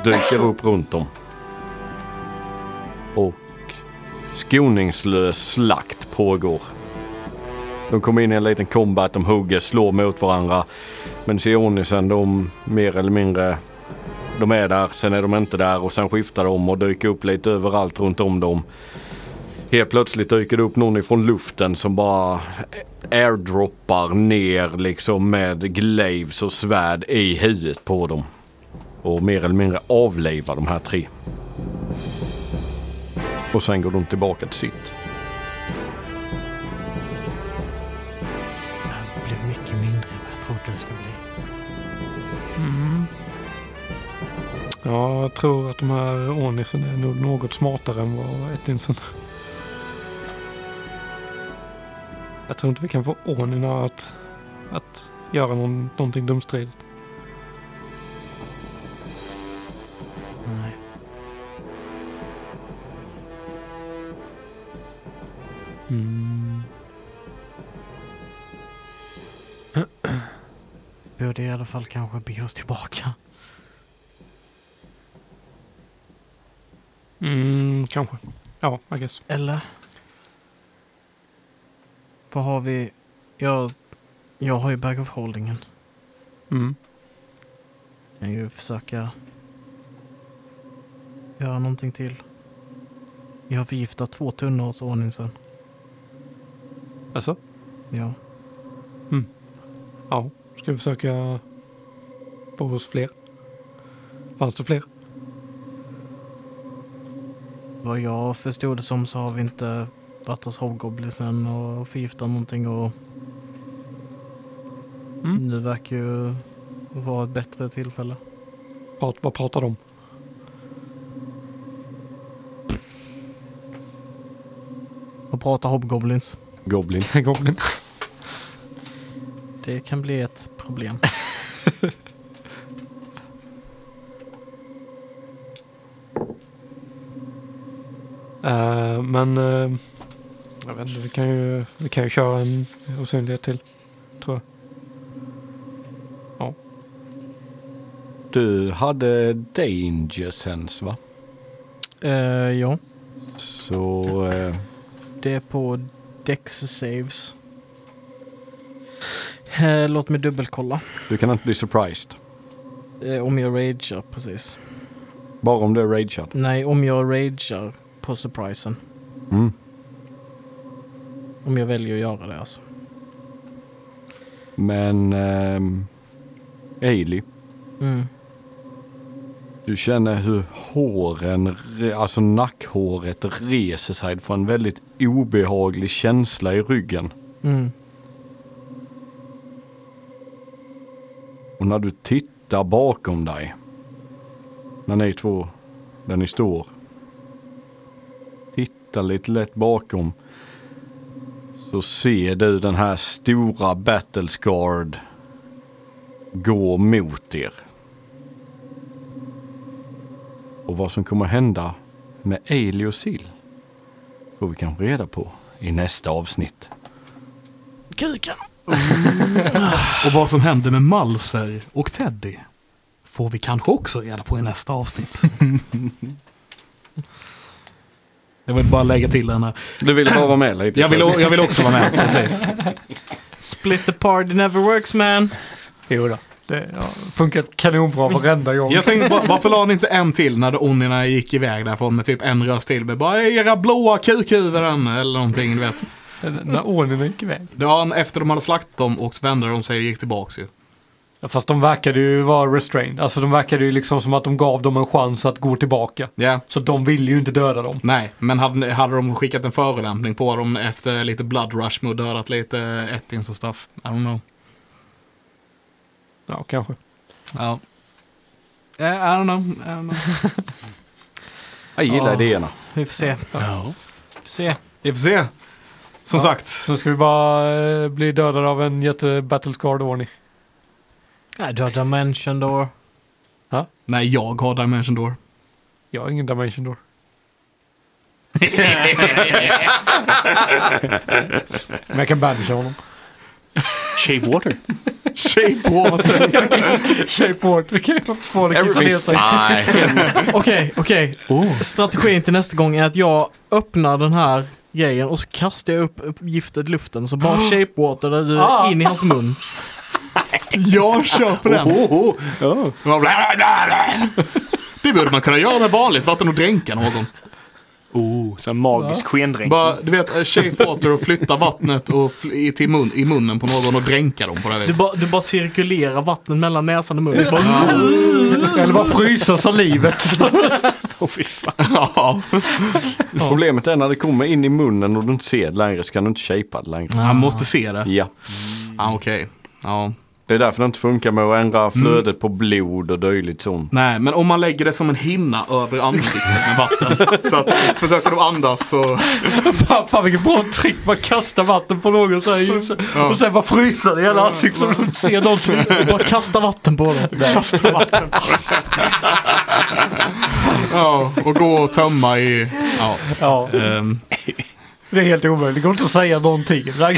F: dyker upp runt dem. Och skoningslös slakt pågår. De kommer in i en liten combat, de hugger, slår mot varandra. Men Sionisen de mer eller mindre, de är där, sen är de inte där och sen skiftar de och dyker upp lite överallt runt om dem. Helt plötsligt dyker det upp någon ifrån luften som bara airdroppar ner liksom med glaives och svärd i huvudet på dem. Och mer eller mindre avlivar de här tre. Och sen går de tillbaka till sitt.
B: Det blev mycket mindre än vad jag trodde det skulle bli.
E: Ja, jag tror att de här Ornisen är nog något smartare än vad Ettinsen. Jag tror inte vi kan få Ornina att, att göra någon, någonting dumstridigt.
B: Nej.
E: Mm.
B: Borde i alla fall kanske be oss tillbaka.
E: Mm, kanske. Ja, I guess.
C: Eller? Vad har vi? Jag, jag har ju Bag of Holdingen.
E: Mm.
C: kan ju försöka göra någonting till. Jag har förgiftat två tunnor hos ordningsen.
E: Alltså?
C: Ja.
E: Ja. Ska vi försöka få oss fler? Fanns det fler?
C: Vad jag förstod det som så har vi inte varit hos Hobgoblinsen och förgiftat någonting och
E: Mm.
C: nu verkar ju vara ett bättre tillfälle.
E: Prat, vad pratar de om?
C: Och prata Hobgoblins.
F: Goblin.
E: Goblin.
C: Det kan bli ett problem.
E: Eh, men eh, jag vet inte, vi kan ju, vi kan ju köra en osynlighet till. Tror
F: Du hade danger sense va?
C: Eh, ja,
F: Så eh,
C: det är på Dex Saves. Eh, låt mig dubbelkolla.
F: du kan inte bli surprised.
C: Eh, om jag ragear, precis.
F: Bara om du är ragead.
C: Nej, om jag ragear på surprisen.
F: Mm.
C: Om jag väljer att göra det alltså.
F: Men ehm, Ailey.
C: Mm.
F: Du känner hur håren, re- alltså nackhåret reser sig. Du får en väldigt obehaglig känsla i ryggen.
C: Mm.
F: Och när du tittar bakom dig, när ni två, där ni står, tittar lite lätt bakom, så ser du den här stora battlescard gå mot er. Och vad som kommer hända med Ailey och Sill får vi kanske reda på i nästa avsnitt.
C: kuken.
A: Och vad som hände med Malser och Teddy får vi kanske också reda på i nästa avsnitt. Jag vill bara lägga till den här.
F: Du ville bara vara med lite.
A: Jag vill, o- jag vill också vara med, precis.
C: Split the party never works man.
A: Jo då.
E: Det har funkat kanonbra varenda gång.
A: Jag tänkte, va- varför la ni inte en till när Onnina gick iväg därifrån med typ en röst till? Med bara era blåa kukhuvuden eller någonting, du vet.
E: När Ånina gick iväg.
A: Dagen efter de hade slaktat dem och så vände de sig och gick tillbaks ju.
E: Ja, Fast de verkade ju vara restrained. Alltså de verkade ju liksom som att de gav dem en chans att gå tillbaka.
A: Ja.
E: Så de ville ju inte döda dem.
A: Nej, men hade, hade de skickat en förolämpning på dem efter lite blood rush med att dödat lite ettings och stuff? I don't know.
E: Ja, kanske.
A: Ja. Eh, I don't know. I don't know.
F: Jag gillar
C: Ja.
F: idéerna.
C: Vi får se. Vi får se.
A: Vi får se. Som sagt.
E: Så ska vi bara eh, bli dödade av en jätte-battlescard ordning.
C: Nej, du har dimension då.
A: Nej, jag har Dimension Door.
E: Jag har ingen dimension door. Men jag kan bandage honom.
D: Shape water.
A: Shapewater.
E: Shapeboard. Vi kan få det kissa ner
F: Everything's
E: sig.
F: fine.
C: Okej, okej. Strategin till nästa gång är att jag öppnar den här grejen och så kastar jag upp upp giftet i luften. Så bara shapewater du
E: Ah.
C: in i hans mun.
A: jag köper den. Bla, bla, bla, bla. Det borde man kunna göra med vanligt vatten och dränka någon.
D: Oh, så en magisk skendränk.
A: Bara, du vet, shapewater och flytta vattnet och fl- i, till mun, i munnen på någon och dränka dem på det
C: Du,
A: viset.
C: bara- du bara cirkulerar vattnet mellan näsan och munnen. Bara,
E: Eller bara frysa salivet.
D: Åh, fy fan.
A: Ja.
F: Problemet är när det kommer in i munnen och du inte ser det längre så kan du inte shapea det längre.
A: Man måste se det.
F: Ja.
A: Ah, Okej. Ja.
F: Det är därför det inte funkar med att ändra flödet på blod och dylikt sånt.
A: Nej, men om man lägger det som en hinna över ansiktet med vatten. så att försöker de andas så...
E: Fan, fan vilket bra trick. Man kastar vatten på någon så här, i sig. och sen bara frysa det i hela ansiktet så de inte ser någonting.
C: bara kasta vatten på dem.
A: Ja, och gå och tömma i... Ja.
E: Ja,
A: ehm,
E: det är helt omöjligt. Det går inte att säga någonting.
A: alltså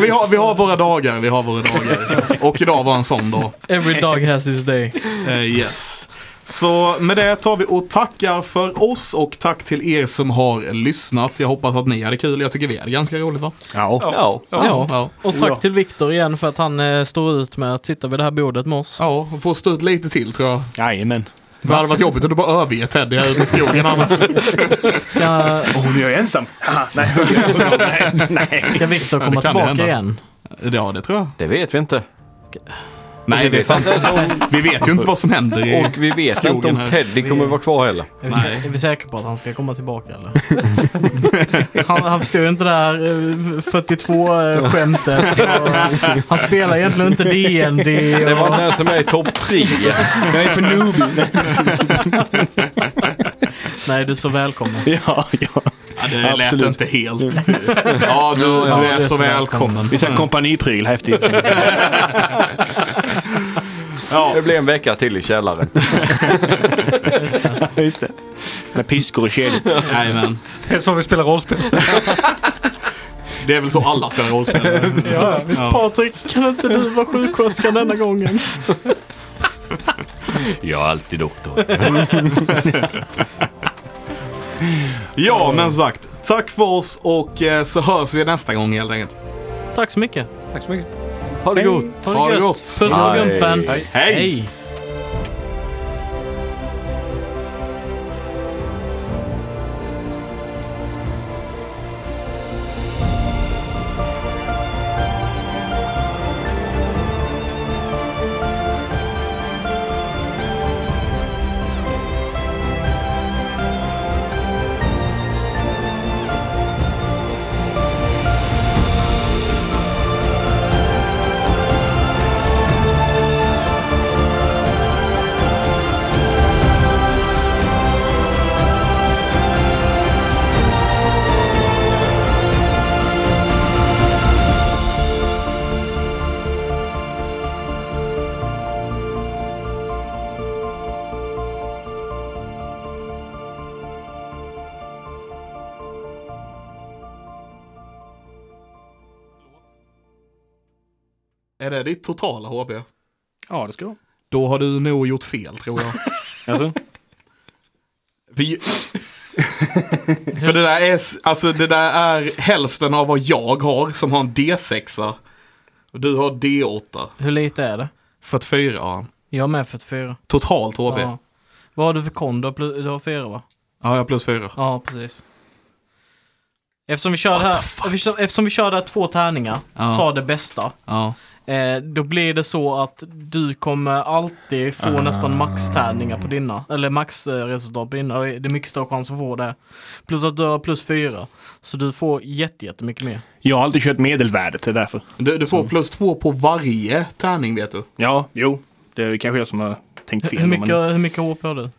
A: vi har, vi har våra dagar, vi har våra dagar. Och idag var en sån dag.
C: Every dog has his day.
A: Eh, yes. Så med det tar vi och tackar för oss och tack till er som har lyssnat. Jag hoppas att ni hade kul. Jag tycker vi hade ganska roligt va?
D: Ja.
A: Ja. Ja. ja.
C: Och tack till Viktor igen för att han eh, står ut med att sitta vid det här bordet med oss.
A: Ja, och får stå ut lite till tror jag.
D: Jajamän.
A: Det hade varit jobbigt om du bara överger Teddy här ute i skogen annars.
C: Ska,
D: Åh, nu är jag ensam. Haha, nej. nej. nej.
C: ska Viktor
A: Ja, det
C: komma
A: kan ju
C: tillbaka
A: hända.
C: igen?
A: Ja, det tror jag.
F: Det vet vi inte.
A: Nej, det är sant. Vi vet ju inte vad som händer i...
F: Och vi vet
A: Skogen
F: inte om
A: här.
F: Teddy kommer vara kvar heller.
C: Är vi, sä- är vi säkra på att han ska komma tillbaka eller? han, han förstår ju inte det här eh, 42-skämtet. Han spelar egentligen inte D&D.
F: Det var
C: och-
F: inte ens med i topp tre.
D: Jag är för noob.
C: Nej, du är så välkommen.
D: Ja, ja.
A: Ja, det lät
D: Absolut.
A: inte helt... Ja, du, du
C: Ja,
A: är så välkommen.
D: Vi är en kompanipryl häftigt.
F: Det blir en vecka till i källaren.
D: Just det. Med piskor och kedjor.
A: Jajamän.
E: Det är så vi spelar rollspel.
A: Det är väl så alla spelar rollspel.
E: Ja, visst.
C: Patrik, kan inte du vara sjuksköterska denna gången?
F: Jag är alltid doktor.
A: Ja, men som sagt. Tack för oss och eh, så hörs vi nästa gång helt enkelt.
C: Tack så mycket.
E: Tack så mycket.
F: Ha det gott.
A: Ha det gött.
C: Puss och
F: Hej.
C: gumpen.
F: Hej.
A: Hej. Är det ditt totala HB?
D: Ja, det ska jag.
A: Då har du nog gjort fel tror jag.
D: Alltså,
A: För, ju- för det, där är, s- alltså, det där är hälften av vad jag har som har en D6. Och du har D8.
C: Hur lite är det?
A: 44 har han.
C: Jag har med 44.
A: Totalt HB.
C: Ja.
A: Ja,
C: Vad har du för kon? Du har plu- du har 4 va?
A: jag har plus 4.
C: Ja, precis. Eftersom vi kör, här, eftersom, eftersom vi kör där två tärningar,
A: Ja.
C: ta det bästa.
A: Ja.
C: Eh, då blir det så att du kommer alltid få
D: Ah.
C: nästan maxtärningar på dina. Eller maxresultat på dina. Det är det är mycket större chans att få det. Plus att du har plus fyra. Så du får jätte, jättemycket mer.
D: jag har alltid kört medelvärdet, det är därför.
A: Du, du får plus 2 på varje tärning vet du.
D: Ja, jo. Det är kanske jag som har tänkt fel.
C: Hur mycket,
D: men-
C: hur mycket HP har du?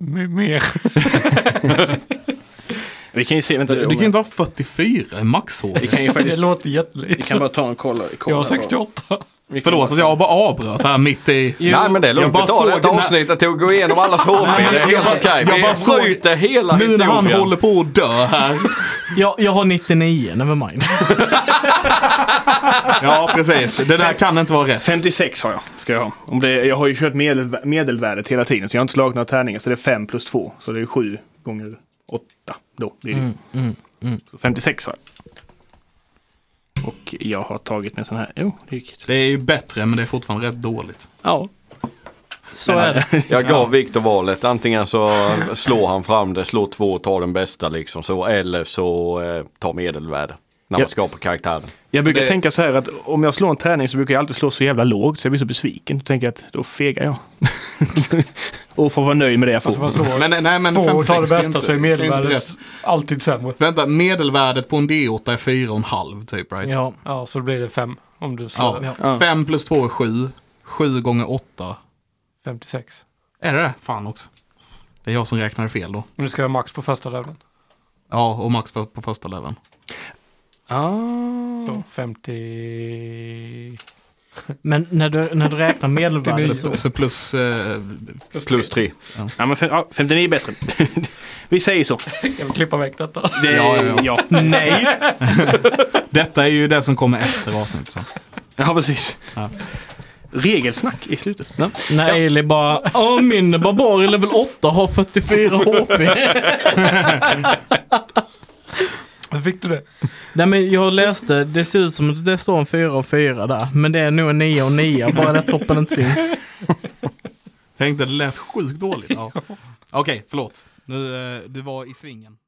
E: M- mer.
D: Vi kan ju se, vänta.
A: Du, kan inte ha 44 i max HB.
D: vi kan ju
E: Det
D: faktiskt...
E: låter
D: Vi
E: jättelite.
D: kan bara ta en kolla. kolla
E: Jag har 68.
D: Vi kan-
A: Förlåt att jag bara avbröt här mitt i...
F: Nej men det är lugnt,
A: Jag
F: vi
A: bara
F: tar
A: såg
F: detta
A: den här-
F: avsnittet till att gå igenom allas HP. Det är helt okej.
A: jag bara såg-
F: Vi bryter hela
A: Nu när han
F: historien.
A: håller på att dö här.
C: Jag, jag har 99, never mind.
A: Ja, precis. Det där kan inte vara rätt.
D: 56 har jag. Ska jag, ha. Om det, jag har ju kört medel, medelvärdet hela tiden så jag har inte slagit några tärningar. Så det är 5 plus 2. Så det är 7 gånger 8 då. Det är det. Så 56 har jag. Och jag har tagit med sån här. Jo, det gick.
A: Det är ju bättre, men det är fortfarande rätt dåligt.
D: Ja.
C: Så är det.
F: Jag gav Viktor valet. Antingen så slår han fram det, slår två och tar den bästa liksom så. Eller så eh, tar medelvärde. När
D: Ja.
F: man skapar karaktären.
D: Jag brukar
F: Det-
D: tänka så här att om jag slår en tärning så brukar jag alltid slå så jävla lågt så jag blir så besviken. Då tänker jag att då fegar jag. och får vara nöjd med det jag får.
E: Alltså man slår
A: Men, nej, men
E: två och
A: 56
E: tar det
A: blir
E: bästa
A: inte-
E: så är
A: kan ju inte bli rätt.
E: medelvärdet alltid sämre.
A: Vänta, medelvärdet på en D8 är 4,5 typ right?
C: Ja.
E: Ja, så blir det fem om du slår
A: Ja. 5 plus 2 är 7. 7 gånger 8.
E: 56.
A: Är det det? Fan också. Det är jag som räknade fel då.
E: Men du ska ha max på första leveln.
A: Ja, och max för, på första leveln. Mm.
E: Så 50...
C: Men när du, när du räknar medelvärdet så...
A: Så, så plus... Eh,
F: Plus tre.
D: Ja, men fem, ja, 59 är bättre. Vi säger så.
E: Jag vill klippa väck detta.
D: Det,
A: Ja, ja, ja.
C: Nej!
A: detta är ju det som kommer efter avsnittet sen.
D: Ja, precis. Regelsnack i slutet. Ja.
C: När Ailey bara, åh min barbar i level 8 har 44 HP.
E: Hur fick du det?
C: Nej men jag läste, det ser ut som att det står en 4 och 4 där. Men det är nog en 9 och 9, bara den toppen inte syns.
A: Tänkte det lät sjukt dåligt. Ja. Okej, förlåt. Nu, eh, du var i svingen.